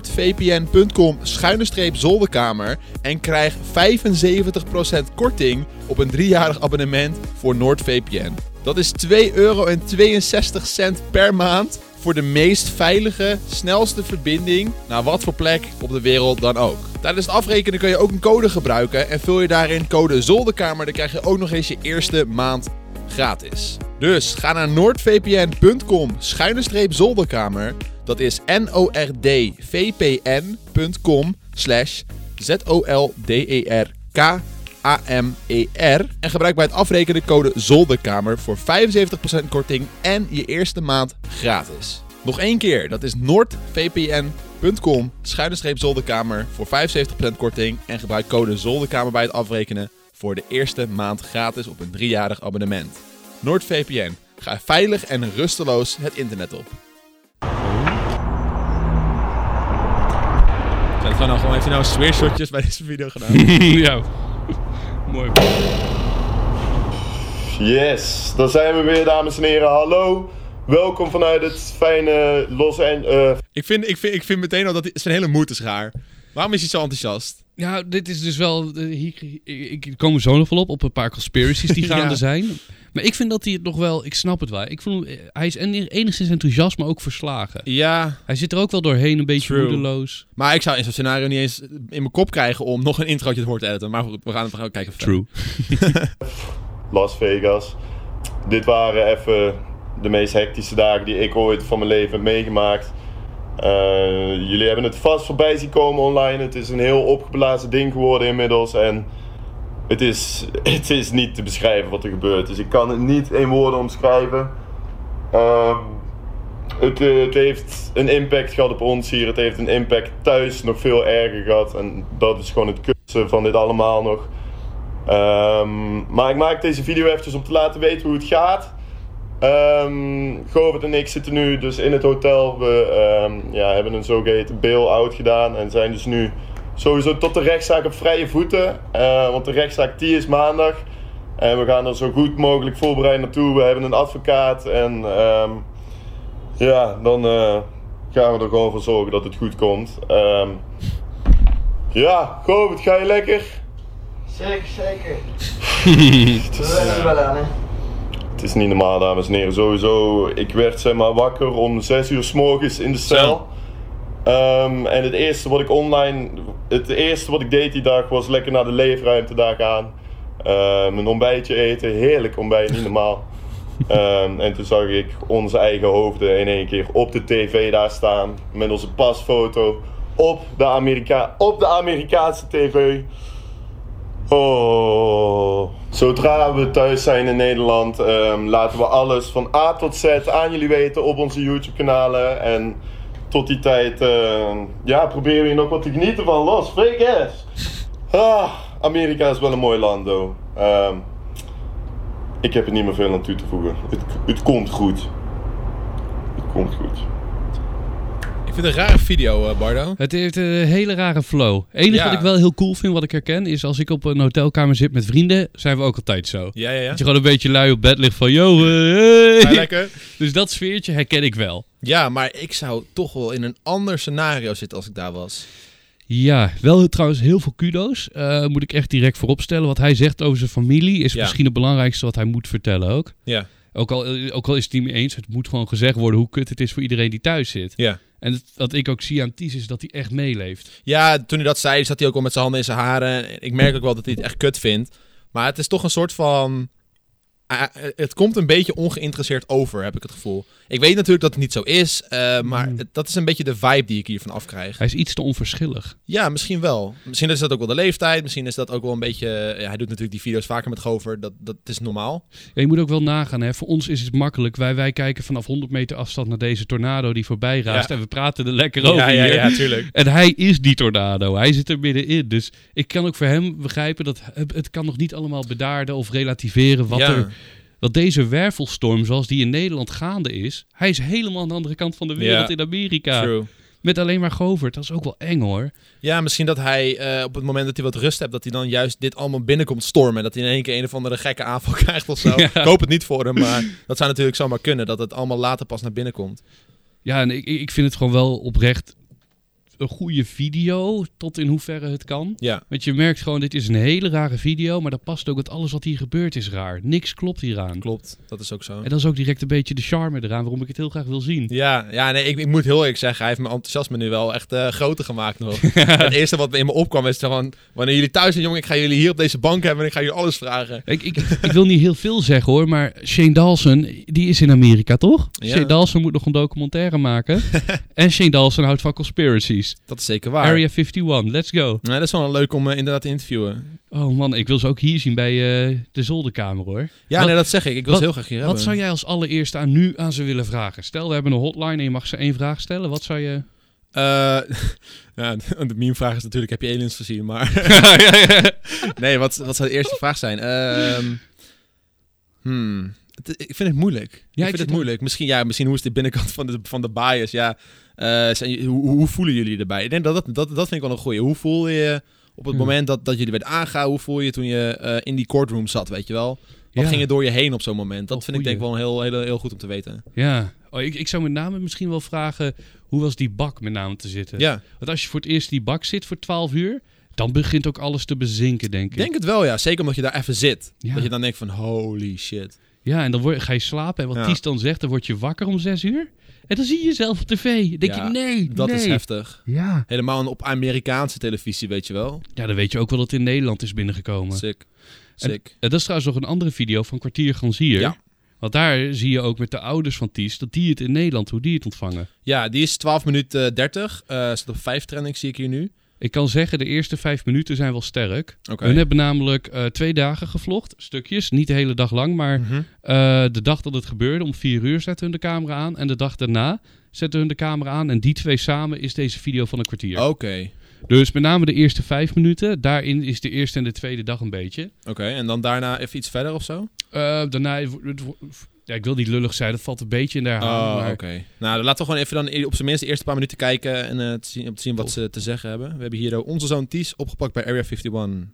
Speaker 1: www.noordvpn.com schuine streep zolderkamer en krijg 75% korting op een driejarig abonnement voor NoordVPN. Dat is 2,62 euro per maand voor de meest veilige, snelste verbinding naar wat voor plek op de wereld dan ook. Tijdens het afrekenen kun je ook een code gebruiken en vul je daarin code zolderkamer, dan krijg je ook nog eens je eerste maand gratis. Dus ga naar noordvpn.com schuine streep zolderkamer. Dat is nordvpn.com slash E zolderkamer. E En gebruik bij het afrekenen code zolderkamer voor 75% korting en je eerste maand gratis. Nog één keer, dat is noordvpn.com schuine streep zolderkamer voor 75% korting. En gebruik code zolderkamer bij het afrekenen voor de eerste maand gratis op een driejarig abonnement. NoordVPN. Ga veilig en rusteloos het internet op. Zijn het gewoon, gewoon, heeft hij nou swearshotjes bij deze video gedaan?
Speaker 2: ja. Mooi.
Speaker 3: Yes, dan zijn we weer, dames en heren. Hallo. Welkom vanuit het fijne Los eh, Angeles.
Speaker 1: ik, vind, ik, vind, ik vind meteen al dat hij, zijn hele moed is raar. Waarom is hij zo enthousiast?
Speaker 2: Ja, dit is dus wel... eh, hier, ik, ik kom er zo nog wel op, op een paar conspiracies die
Speaker 1: Ja.
Speaker 2: gaande zijn. Maar ik vind dat hij het nog wel... Ik snap het wel. Ik voel, hem- eh, hij is en- enigszins enthousiast, maar ook verslagen.
Speaker 1: Ja,
Speaker 2: Hij zit er ook wel doorheen, een beetje
Speaker 1: True.
Speaker 2: moedeloos.
Speaker 1: maar ik zou in zo'n scenario niet eens in mijn kop krijgen om nog een introotje te horen te editen. Maar goed, we gaan het we gaan kijken. of het-
Speaker 3: Las Vegas. Dit waren even de meest hectische dagen die ik ooit van mijn leven heb meegemaakt. Eh, jullie hebben het vast voorbij zien komen online. Het is een heel opgeblazen ding geworden inmiddels. En het is, het is niet te beschrijven wat er gebeurt. Dus ik kan het niet in woorden omschrijven. Ehm, het, eh, het heeft een impact gehad op ons hier. Het heeft een impact thuis nog veel erger gehad. En dat is gewoon het kutste van dit allemaal nog. Ehm, maar ik maak deze video eventjes om te laten weten hoe het gaat. Ehm Govert en ik zitten nu dus in het hotel. We ehm, ja, hebben een zogeheten bail-out gedaan en zijn dus nu sowieso tot de rechtszaak op vrije voeten. Eh, want de rechtszaak die is maandag. En we gaan er zo goed mogelijk voorbereid naartoe. We hebben een advocaat en ehm, ja, dan eh, gaan we er gewoon voor zorgen dat het goed komt. Ehm, ja, Govert, ga je lekker?
Speaker 4: Zeker, zeker. We wennen er wel aan, hè.
Speaker 3: Het is niet normaal, dames en heren. Sowieso, ik werd zeg maar wakker om 6 uur s morgens in de cel. Ehm, en het eerste wat ik online, het eerste wat ik deed die dag was lekker naar de leefruimte daar gaan. Ehm een ontbijtje eten, heerlijk ontbijt, niet normaal. Ehm, en toen zag ik onze eigen hoofden in één keer op de tv daar staan. Met onze pasfoto op de, Amerika op de Amerikaanse tv. Oh. Zodra we thuis zijn in Nederland, ehm, laten we alles van A tot Z aan jullie weten op onze YouTube-kanalen. En tot die tijd, ehm, ja, proberen we nog wat te genieten van Los Vegas. Ah, Amerika is wel een mooi land, though. Ehm, ik heb er niet meer veel aan toe te voegen. Het, het komt goed. Het komt goed.
Speaker 1: Ik vind het een rare video, eh, Bardo.
Speaker 2: Het heeft een hele rare flow. enige
Speaker 1: Ja.
Speaker 2: wat ik wel heel cool vind, wat ik herken, is als ik op een hotelkamer zit met vrienden, zijn we ook altijd zo.
Speaker 1: Ja, ja, ja.
Speaker 2: Dat je gewoon een beetje lui op bed ligt van, yo, eh,
Speaker 1: Maar
Speaker 2: hey.
Speaker 1: lekker.
Speaker 2: Dus dat sfeertje herken ik wel.
Speaker 1: Ja, maar ik zou toch wel in een ander scenario zitten als ik daar was.
Speaker 2: Ja, wel trouwens heel veel kudo's. Eh, moet ik echt direct vooropstellen. Wat hij zegt over zijn familie is
Speaker 1: Ja.
Speaker 2: misschien het belangrijkste wat hij moet vertellen ook.
Speaker 1: Ja.
Speaker 2: Ook al, eh, ook al is het niet mee eens, het moet gewoon gezegd worden hoe kut het is voor iedereen die thuis zit.
Speaker 1: Ja.
Speaker 2: En het- wat ik ook zie aan Ties is dat hij echt meeleeft.
Speaker 1: Ja, toen hij dat zei, zat hij ook al met zijn handen in zijn haren. Ik merk ook wel dat hij het echt kut vindt. Maar het is toch een soort van... ah, het komt een beetje ongeïnteresseerd over, heb ik het gevoel. Ik weet natuurlijk dat het niet zo is, eh, maar het- dat is een beetje de vibe die ik hiervan afkrijg.
Speaker 2: Hij is iets te onverschillig.
Speaker 1: Ja, misschien wel. Misschien is dat ook wel de leeftijd. Misschien is dat ook wel een beetje... Ja, hij doet natuurlijk die video's vaker met Gover. Dat, dat is normaal.
Speaker 2: Ja, je moet ook wel nagaan, hè. voor ons is het makkelijk. Wij, wij kijken vanaf 100 meter afstand naar deze tornado die voorbij raast.
Speaker 1: Ja.
Speaker 2: En we praten er lekker over hier.
Speaker 1: tuurlijk.
Speaker 2: En hij is die tornado. Hij zit er middenin. Dus ik kan ook voor hem begrijpen dat het het kan nog niet allemaal bedaarden of relativeren wat
Speaker 1: Ja.
Speaker 2: er... Dat deze wervelstorm, zoals die in Nederland gaande is, hij is helemaal aan de andere kant van de wereld
Speaker 1: Ja.
Speaker 2: in Amerika.
Speaker 1: True.
Speaker 2: Met alleen maar Govert. Dat is ook wel eng hoor.
Speaker 1: Ja, misschien dat hij eh, op het moment dat hij wat rust hebt, dat hij dan juist dit allemaal binnenkomt stormen. En dat hij in één keer een of andere gekke aanval krijgt of zo.
Speaker 2: Ja.
Speaker 1: Ik hoop het niet voor hem, maar dat zou natuurlijk zomaar kunnen. Dat het allemaal later pas naar binnen komt.
Speaker 2: Ja, en ik, ik vind het gewoon wel oprecht een goede video. Tot in hoeverre het kan.
Speaker 1: Ja,
Speaker 2: Want je merkt gewoon, dit is een hele rare video. Maar dat past ook, want alles wat hier gebeurt is raar. Niks klopt hieraan.
Speaker 1: klopt. Dat is ook zo.
Speaker 2: En dat is ook direct een beetje de charme eraan waarom ik het heel graag wil zien.
Speaker 1: Ja, ja nee, ik, ik moet heel eerlijk zeggen, hij heeft mijn enthousiasme nu wel echt eh, groter gemaakt nog. het eerste wat in me opkwam is gewoon, wanneer jullie thuis zijn, jongen, ik ga jullie hier op deze bank hebben en ik ga jullie alles vragen.
Speaker 2: Ik, ik, ik wil niet heel veel zeggen hoor, maar Shane Dawson, die is in Amerika toch?
Speaker 1: Ja.
Speaker 2: Shane Dawson moet nog een documentaire maken. en Shane Dawson houdt van conspiracies.
Speaker 1: Dat is zeker waar.
Speaker 2: Area 51, let's go.
Speaker 1: Nee, dat is wel leuk om eh, inderdaad te interviewen.
Speaker 2: Oh man, ik wil ze ook hier zien bij eh, de zolderkamer hoor.
Speaker 1: Ja,
Speaker 2: Wat-
Speaker 1: nee, dat zeg ik. Ik wil ze heel graag hier
Speaker 2: Wat
Speaker 1: hebben.
Speaker 2: zou jij als allereerste aan nu aan ze willen vragen? Stel, we hebben een hotline en je mag ze één vraag stellen. Wat zou je...
Speaker 1: Eh, ja, de meme-vraag is natuurlijk, heb je aliens gezien? Maar nee, wat, wat zou de eerste vraag zijn? Ehm, hmm, het- ik vind het moeilijk. ik vind
Speaker 2: zit
Speaker 1: het
Speaker 2: ook-
Speaker 1: moeilijk. Misschien, ja, misschien hoe is de binnenkant van de, van de bias? Ja, eh, zijn, jullie- hoe, hoe voelen jullie erbij? Ik denk dat, dat, dat, dat vind ik wel een goeie. Hoe voel je je op het
Speaker 2: Ja.
Speaker 1: moment dat, dat jullie werd aangehouden? Hoe voel je je toen je eh, in die courtroom zat, weet je wel? Wat
Speaker 2: Ja.
Speaker 1: ging er door je heen op zo'n moment? Dat
Speaker 2: Oh,
Speaker 1: vind ik denk
Speaker 2: goeie.
Speaker 1: ik wel een heel, heel, heel goed om te weten.
Speaker 2: Ja, oh, ik, ik zou met name misschien wel vragen... Hoe was die bak met name te zitten?
Speaker 1: Ja,
Speaker 2: Want als je voor het eerst in die bak zit voor 12 uur... Dan begint ook alles te bezinken, denk
Speaker 1: ik
Speaker 2: ik.
Speaker 1: denk het wel, ja. Zeker omdat je daar even zit.
Speaker 2: Ja.
Speaker 1: Dat je dan denkt van, holy shit.
Speaker 2: Ja, en dan word, ga je slapen. En wat
Speaker 1: Ja.
Speaker 2: Ties dan zegt, dan word je wakker om 6 uur. En dan zie je jezelf op tv. Dan denk
Speaker 1: Ja,
Speaker 2: je, nee,
Speaker 1: Dat
Speaker 2: nee.
Speaker 1: is heftig.
Speaker 2: Ja.
Speaker 1: Helemaal op Amerikaanse televisie, weet je wel.
Speaker 2: ja, dan weet je ook wel dat het in Nederland is binnengekomen.
Speaker 1: Sick. Sick.
Speaker 2: En dat is trouwens nog een andere video van Kwartier Gansier.
Speaker 1: Ja.
Speaker 2: Want daar zie je ook met de ouders van Ties, dat die het in Nederland, hoe die het ontvangen.
Speaker 1: Ja, die is 12 minuten eh, 30. Eh staat op 5 trending, zie ik hier nu.
Speaker 2: Ik kan zeggen, de eerste vijf minuten zijn wel sterk.
Speaker 1: Oké.
Speaker 2: We hebben namelijk eh, twee dagen gevlogd, stukjes. Niet de hele dag lang, maar
Speaker 1: Mhm.
Speaker 2: eh, de dag dat het gebeurde, om vier uur zetten hun de camera aan. En de dag daarna zetten hun de camera aan. En die twee samen is deze video van een kwartier.
Speaker 1: Oké.
Speaker 2: Dus met name de eerste vijf minuten. Daarin is de eerste en de tweede dag een beetje.
Speaker 1: Oké, en dan daarna even iets verder of zo?
Speaker 2: Eh, daarna... het wo- Ja, ik wil niet lullig zijn, dat valt een beetje in de herhaling.
Speaker 1: Oh,
Speaker 2: maar-
Speaker 1: oké. Nou, dan laten we gewoon even dan i- op zijn minst de eerste paar minuten kijken en eh, te zien, om te zien wat ze te zeggen hebben. We hebben hier eh, onze zoon Ties opgepakt bij Area 51.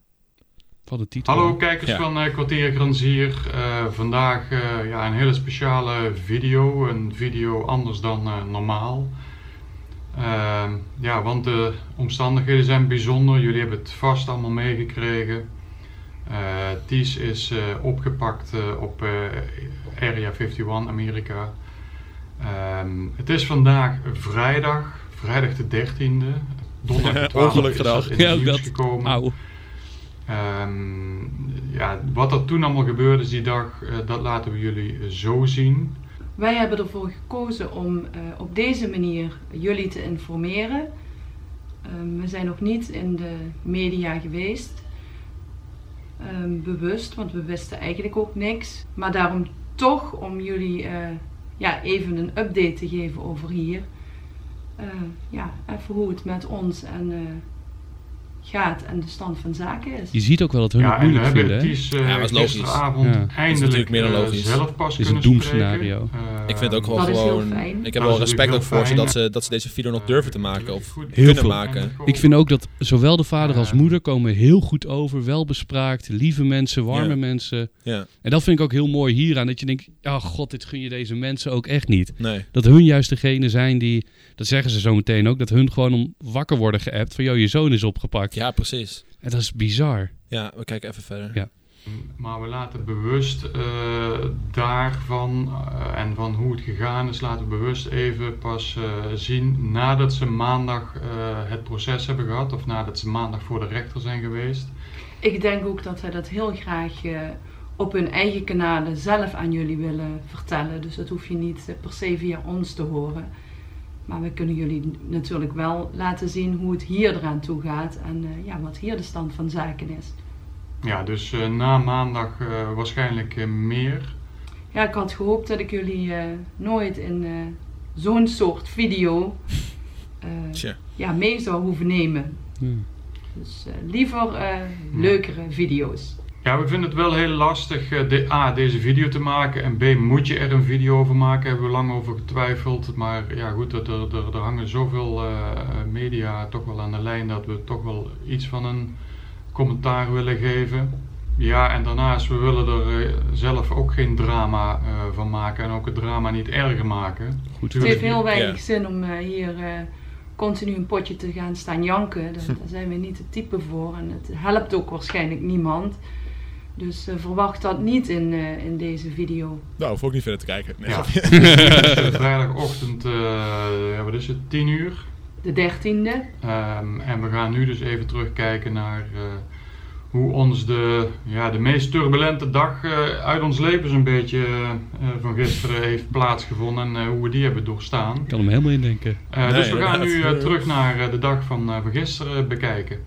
Speaker 2: Van de titel.
Speaker 5: Hallo kijkers
Speaker 1: Ja.
Speaker 5: van eh Kwartier Granzier. Eh, vandaag eh, ja, een hele speciale video. Een video anders dan eh, normaal. Ehm, ja, want de omstandigheden zijn bijzonder. Jullie hebben het vast allemaal meegekregen. Eh, Ties is eh, opgepakt eh, op eh, Area 51 Amerika. Ehm, het is vandaag vrijdag, vrijdag de 13e. Donderdag de 12e is
Speaker 1: Ongelukgedag.
Speaker 5: dat in het
Speaker 2: Ja, ook
Speaker 5: nieuws
Speaker 2: dat.
Speaker 5: gekomen.
Speaker 2: Auw.
Speaker 5: Ehm, ja, wat er toen allemaal gebeurde die dag, eh, dat laten we jullie eh, zo zien.
Speaker 6: Wij hebben ervoor gekozen om eh, op deze manier jullie te informeren. Ehm, we zijn nog niet in de media geweest, Ehm, bewust, want we wisten eigenlijk ook niks. Maar daarom toch om jullie eh, ja, even een update te geven over hier. Eh, ja, even hoe het met ons en, eh, gaat en de stand van zaken is.
Speaker 2: Je ziet ook wel dat hun
Speaker 5: ja,
Speaker 2: het
Speaker 5: en we
Speaker 2: moeilijk
Speaker 5: hebben
Speaker 2: vinden. hè?
Speaker 5: Ties eh
Speaker 1: Ja, dat is logisch.
Speaker 5: gisteravond
Speaker 2: Ja. Dat is
Speaker 5: eindelijk
Speaker 1: natuurlijk meer dan
Speaker 5: eh,
Speaker 1: logisch.
Speaker 5: zelf pas
Speaker 2: Dit is
Speaker 5: kunnen
Speaker 2: een
Speaker 5: spreken.
Speaker 2: doemscenario.
Speaker 5: Ehm,
Speaker 1: Ik vind het ook wel
Speaker 6: Dat is heel
Speaker 1: gewoon...
Speaker 6: fijn.
Speaker 1: Ik heb
Speaker 5: Dat
Speaker 1: wel
Speaker 5: is
Speaker 1: respect ook
Speaker 5: natuurlijk
Speaker 1: voor ze
Speaker 5: heel
Speaker 1: dat
Speaker 5: fijn.
Speaker 1: ze, dat ze deze video nog durven te maken of
Speaker 5: Goed.
Speaker 1: kunnen
Speaker 2: veel.
Speaker 1: maken.
Speaker 2: Ik vind ook dat zowel de vader als moeder komen heel goed over. Welbespraakt, lieve mensen, warme
Speaker 1: Ja.
Speaker 2: mensen.
Speaker 1: Ja,
Speaker 2: En dat vind ik ook heel mooi hieraan. Dat je denkt, oh god, dit gun je deze mensen ook echt niet.
Speaker 1: nee.
Speaker 2: Dat hun juist degene zijn die, dat zeggen ze zo meteen ook, dat hun gewoon om wakker worden geappt van, joh, je zoon is opgepakt.
Speaker 1: Ja, precies.
Speaker 2: En dat is bizar.
Speaker 1: Ja, we kijken even verder.
Speaker 2: Ja.
Speaker 5: Maar we laten bewust eh, daarvan eh, en van hoe het gegaan is, laten we bewust even pas eh, zien nadat ze maandag eh, het proces hebben gehad of nadat ze maandag voor de rechter zijn geweest.
Speaker 6: Ik denk ook dat zij dat heel graag eh, op hun eigen kanalen zelf aan jullie willen vertellen. Dus dat hoef je niet eh, per se via ons te horen. Maar we kunnen jullie n- natuurlijk wel laten zien hoe het hier eraan toe gaat en eh, ja, wat hier de stand van zaken is.
Speaker 5: Ja, dus eh, na maandag eh, waarschijnlijk eh, meer.
Speaker 6: Ja, ik had gehoopt dat ik jullie eh, nooit in eh, zo'n soort video eh,
Speaker 1: Tja.
Speaker 6: ja, mee zou hoeven nemen.
Speaker 2: Ja.
Speaker 6: Dus eh, liever eh, leukere video's.
Speaker 5: Ja, we vinden het wel heel lastig eh, de, A, deze video te maken en B, moet je er een video over maken, hebben we lang over getwijfeld. Maar ja goed, er, er, er, er hangen zoveel eh, media toch wel aan de lijn dat we toch wel iets van een commentaar willen geven. Ja, en daarnaast, we willen er eh, zelf ook geen drama eh, van maken en ook het drama niet erger maken.
Speaker 2: Goed.
Speaker 6: Het
Speaker 5: Tuurlijk
Speaker 6: heeft
Speaker 5: niet.
Speaker 6: heel weinig
Speaker 1: Ja.
Speaker 6: zin om eh, hier eh, continu een potje te gaan staan janken. Daar, daar zijn we niet het type voor en het helpt ook waarschijnlijk niemand. Dus eh, verwacht dat niet in, eh, in deze video.
Speaker 1: Nou, hoef ook niet verder te kijken. Nee,
Speaker 5: Ja.
Speaker 1: grapje.
Speaker 5: Dus vrijdagochtend, eh, ja, wat is het, 10 uur?
Speaker 6: De dertiende.
Speaker 5: Ehm, en we gaan nu dus even terugkijken naar eh, hoe ons de, ja, de meest turbulente dag eh, uit ons leven zo'n beetje eh, eh, van gisteren heeft plaatsgevonden en eh, hoe we die hebben doorstaan.
Speaker 2: Ik kan hem helemaal indenken.
Speaker 5: Eh,
Speaker 1: Nee,
Speaker 5: dus we gaan nu
Speaker 1: inderdaad.
Speaker 5: eh, terug naar eh, de dag van, eh, van gisteren bekijken.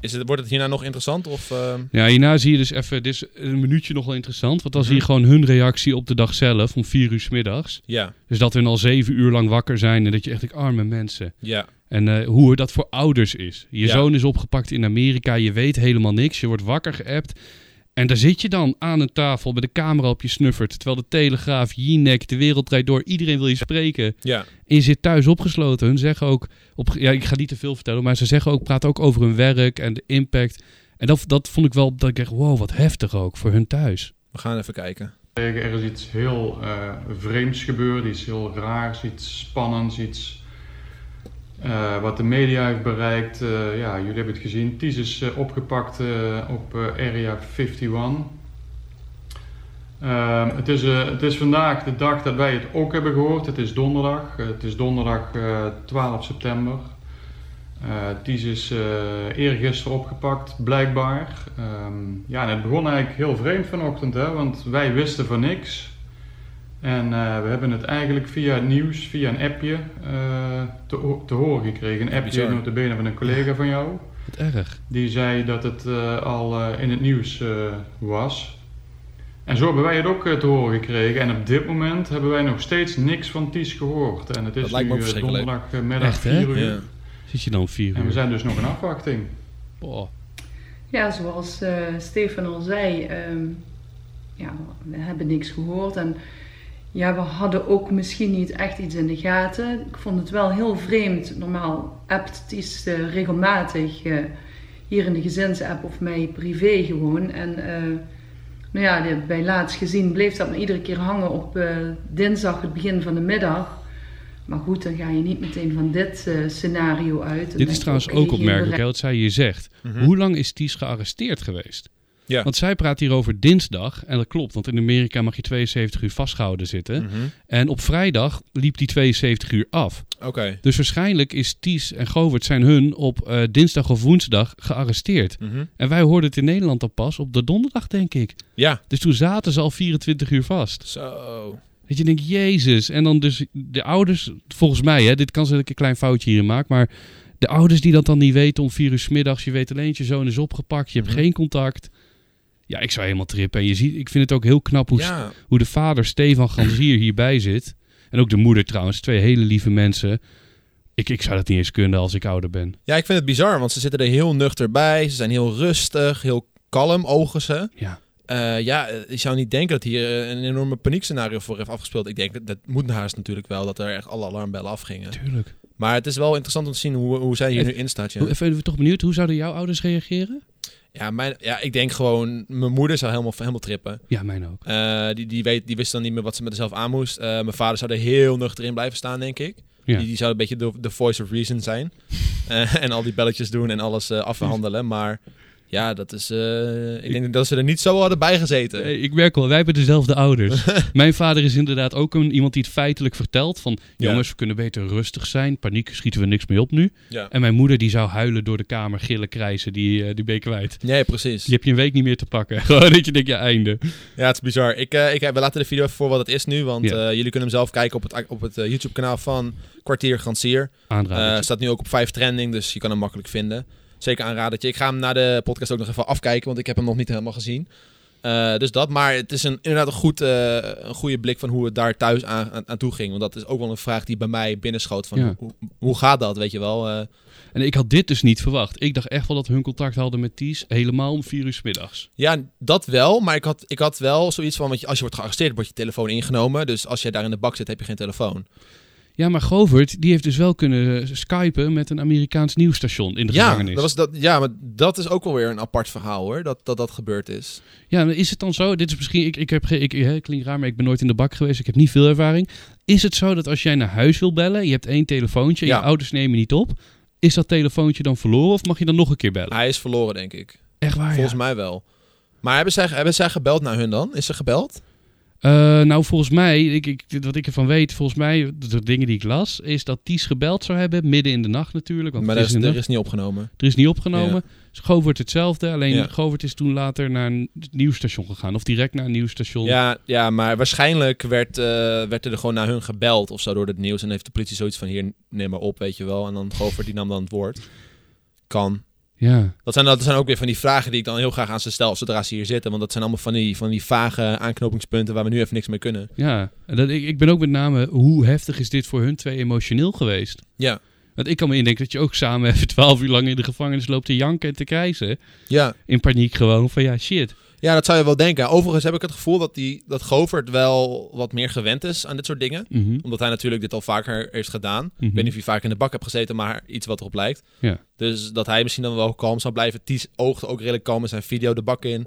Speaker 1: Is het, wordt het hierna nog interessant? Of, ehm,
Speaker 2: Ja, hierna zie je dus even, dit is een minuutje nog wel interessant. Want dan zie je gewoon hun reactie op de dag zelf om vier uur 's middags.
Speaker 1: ja,
Speaker 2: Dus dat hun al zeven uur lang wakker zijn en dat je echt denkt, arme mensen.
Speaker 1: ja,
Speaker 2: En eh, hoe dat voor ouders is. Je
Speaker 1: Ja.
Speaker 2: zoon is opgepakt in Amerika, je weet helemaal niks, je wordt wakker geappt. En daar zit je dan aan een tafel met de camera op je snuffert. Terwijl de Telegraaf, Jinek, de wereld draait door, iedereen wil je spreken.
Speaker 1: ja.
Speaker 2: En je zit thuis opgesloten. Hun zeggen ook, op, ja, ik ga niet te veel vertellen, maar ze zeggen ook, praat ook over hun werk en de impact. En dat, dat vond ik wel, dat ik dacht, wow, wat heftig ook voor hun thuis.
Speaker 1: We gaan even kijken.
Speaker 5: Tegen, Er is iets heel eh, vreemds gebeurd, iets heel raars, iets spannends, iets eh, wat de media heeft bereikt. Eh, ja, jullie hebben het gezien. Ties is eh, opgepakt eh, op eh, Area 51. Ehm, het, is, eh, het is vandaag de dag dat wij het ook hebben gehoord. Het is donderdag. Eh, het is donderdag eh, 12 september. Eh Ties is eh eergisteren opgepakt, blijkbaar. Ehm, ja, en het begon eigenlijk heel vreemd vanochtend, hè, want wij wisten van niks. En eh, we hebben het eigenlijk via het nieuws, via een appje, eh, te, ho- te horen gekregen. Een appje,
Speaker 1: bizar.
Speaker 5: notabene van een collega van jou.
Speaker 2: Wat erg.
Speaker 5: Die zei dat het eh, al eh, in het nieuws eh, was. En zo hebben wij het ook eh, te horen gekregen. En op dit moment hebben wij nog steeds niks van Ties gehoord. En het
Speaker 1: Dat
Speaker 5: is
Speaker 1: lijkt me
Speaker 5: nu
Speaker 1: ook
Speaker 5: eh,
Speaker 1: verschrikkelijk.
Speaker 5: donderdagmiddag
Speaker 2: Echt, hè?
Speaker 5: 4 uur.
Speaker 1: Ja.
Speaker 2: Zit je dan om vier uur?
Speaker 5: En we zijn dus nog in afwachting.
Speaker 2: Boah.
Speaker 6: Ja, zoals eh, Stefan al zei, ehm, ja, we hebben niks gehoord. En ja, we hadden ook misschien niet echt iets in de gaten. Ik vond het wel heel vreemd. Normaal appt het iets eh, regelmatig eh, hier in de gezinsapp of mij privé gewoon. En eh, nou ja, de- bij laatst gezien bleef dat me iedere keer hangen op eh, dinsdag, het begin van de middag. Maar goed, dan ga je niet meteen van dit eh, scenario uit.
Speaker 2: Dit
Speaker 6: Dan denk
Speaker 2: is
Speaker 6: je,
Speaker 2: trouwens
Speaker 6: oké,
Speaker 2: ook
Speaker 6: hier
Speaker 2: opmerkelijk,
Speaker 6: bereik-
Speaker 2: hè, wat zij hier zegt. Hoe lang is Ties gearresteerd geweest?
Speaker 1: Mhm. Ja.
Speaker 2: Want zij praat hier over dinsdag. En dat klopt, want in Amerika mag je 72 uur vastgehouden zitten.
Speaker 1: Mhm.
Speaker 2: En op vrijdag liep die 72 uur af.
Speaker 1: Oké.
Speaker 2: Dus waarschijnlijk is Ties en Govert zijn hun op eh, dinsdag of woensdag gearresteerd.
Speaker 1: Mhm.
Speaker 2: En wij hoorden het in Nederland al pas op de donderdag, denk ik.
Speaker 1: Ja.
Speaker 2: Dus toen zaten ze al 24 uur vast.
Speaker 1: Zo.
Speaker 2: Dat je denkt, jezus. En dan dus de ouders, volgens mij, hè, dit kan zijn dat ik een klein foutje hierin maak, maar de ouders die dat dan niet weten om 4 uur 's middags, je weet alleen dat je zoon is opgepakt, je hebt
Speaker 1: Mhm.
Speaker 2: geen contact. Ja, ik zou helemaal trippen. En je ziet, ik vind het ook heel knap hoe,
Speaker 1: Ja.
Speaker 2: hoe de vader Stefan Gansier hierbij zit. En ook de moeder trouwens. Twee hele lieve mensen. Ik, ik zou dat niet eens kunnen als ik ouder ben.
Speaker 1: ja, ik vind het bizar, want ze zitten er heel nuchter bij. Ze zijn heel rustig, heel kalm, ogen ze.
Speaker 2: Ja.
Speaker 1: Eh, ja, eh, ik zou niet denken dat hier eh, een enorme paniekscenario voor heeft afgespeeld. Ik denk, dat, dat moet haast natuurlijk wel, dat er echt alle alarmbellen afgingen.
Speaker 2: Tuurlijk.
Speaker 1: Maar het is wel interessant om te zien hoe, hoe zij hier nu in staat. Ja,
Speaker 2: Even, even toch benieuwd, hoe zouden jouw ouders reageren?
Speaker 1: ja, mijn, ja ik denk gewoon, mijn moeder zou helemaal, helemaal trippen.
Speaker 2: Ja, mijn ook.
Speaker 1: Eh, die, die, weet, die wist dan niet meer wat ze met zichzelf aan moest. Eh, mijn vader zou er heel nuchter in blijven staan, denk ik.
Speaker 2: Ja.
Speaker 1: Die, die zou een beetje de, de voice of reason zijn. Eh, en al die belletjes doen en alles eh, afhandelen. Maar ja, dat is, eh, ik denk dat ze er niet zo hadden bij gezeten.
Speaker 2: Eh, Ik merk wel, wij hebben dezelfde ouders. mijn vader is inderdaad ook een, iemand die het feitelijk vertelt. Van,
Speaker 1: Ja.
Speaker 2: jongens, we kunnen beter rustig zijn. Paniek schieten we niks mee op nu.
Speaker 1: Ja.
Speaker 2: En mijn moeder die zou huilen door de kamer, gillen, krijsen. Die, eh, die ben je kwijt.
Speaker 1: Nee, precies.
Speaker 2: Die heb je een week niet meer te pakken. Gewoon dat je denkt, ja, einde.
Speaker 1: Ja, het is bizar. Ik, eh, ik, we laten de video even voor wat het is nu. Want
Speaker 2: Ja.
Speaker 1: eh, jullie kunnen hem zelf kijken op het, op het eh, YouTube-kanaal van Kwartier Gransier.
Speaker 2: Aanraden.
Speaker 1: Eh staat nu ook op 5 trending, dus je kan hem makkelijk vinden. Zeker aanradertje. Ik ga hem na de podcast ook nog even afkijken, want ik heb hem nog niet helemaal gezien. Eh, Eh, dus dat, maar het is een, inderdaad een, goed, eh, een goede blik van hoe het daar thuis aan, aan, aan toe ging. Want dat is ook wel een vraag die bij mij binnenschoot. Van
Speaker 2: Ja.
Speaker 1: hoe, hoe gaat dat, weet je wel? Eh,
Speaker 2: En ik had dit dus niet verwacht. Ik dacht echt wel dat hun contact hadden met Ties helemaal om vier uur 's middags.
Speaker 1: ja, dat wel. Maar ik had, ik had wel zoiets van, want je- als je wordt gearresteerd, wordt je telefoon ingenomen. Dus als jij daar in de bak zit, heb je geen telefoon.
Speaker 2: Ja, maar Govert, die heeft dus wel kunnen eh, skypen met een Amerikaans nieuwsstation in de
Speaker 1: Ja,
Speaker 2: gevangenis.
Speaker 1: dat was dat, ja, maar dat is ook wel weer een apart verhaal hoor, dat dat, dat gebeurd is.
Speaker 2: Ja, maar is het dan zo? Dit is misschien. Ik, ik heb geen. Ik, hè, klinkt raar, maar ik ben nooit in de bak geweest. Ik heb niet veel ervaring. Is het zo dat als jij naar huis wil bellen, je hebt één telefoontje,
Speaker 1: Ja.
Speaker 2: je ouders nemen niet op. Is dat telefoontje dan verloren of mag je dan nog een keer bellen?
Speaker 1: Hij is verloren, denk ik.
Speaker 2: Echt waar?
Speaker 1: Volgens
Speaker 2: Ah, ja.
Speaker 1: mij wel. Maar hebben zij, hebben zij gebeld naar hun dan? Is ze gebeld?
Speaker 2: Eh, nou, volgens mij, ik, ik, wat ik ervan weet, volgens mij, de, de dingen die ik las, is dat Ties gebeld zou hebben, midden in de nacht natuurlijk. Want
Speaker 1: maar
Speaker 2: het
Speaker 1: er
Speaker 2: is
Speaker 1: is,
Speaker 2: in de
Speaker 1: er
Speaker 2: nacht.
Speaker 1: is niet opgenomen.
Speaker 2: er is niet opgenomen. Dus Govert hetzelfde, alleen
Speaker 1: Ja.
Speaker 2: Govert is toen later naar een nieuwsstation gegaan. Of direct naar een nieuwsstation.
Speaker 1: Ja, ja maar waarschijnlijk werd, eh, werd er gewoon naar hun gebeld of zo door het nieuws. En heeft de politie zoiets van, hier, neem maar op, weet je wel. En dan Gover, die nam dan het woord. Kan.
Speaker 2: ja.
Speaker 1: Dat zijn, dat zijn ook weer van die vragen die ik dan heel graag aan ze stel zodra ze hier zitten. Want dat zijn allemaal van die, van die vage aanknopingspunten waar we nu even niks mee kunnen.
Speaker 2: Ja, en dat, ik, ik ben ook met name hoe heftig is dit voor hun twee emotioneel geweest.
Speaker 1: Ja,
Speaker 2: Want ik kan me indenken dat je ook samen even twaalf uur lang in de gevangenis loopt te janken en te krijsen.
Speaker 1: ja.
Speaker 2: In paniek gewoon van ja, shit.
Speaker 1: ja dat zou je wel denken. Overigens heb ik het gevoel dat, die, dat Govert wel wat meer gewend is aan dit soort dingen.
Speaker 2: Mhm.
Speaker 1: Omdat hij natuurlijk dit al vaker heeft gedaan.
Speaker 2: Mhm.
Speaker 1: Ik weet niet of hij vaak in de bak hebt gezeten, maar iets wat erop lijkt.
Speaker 2: Ja.
Speaker 1: Dus dat hij misschien dan wel kalm zou blijven. Ties oogt ook redelijk kalm in zijn video de bak in.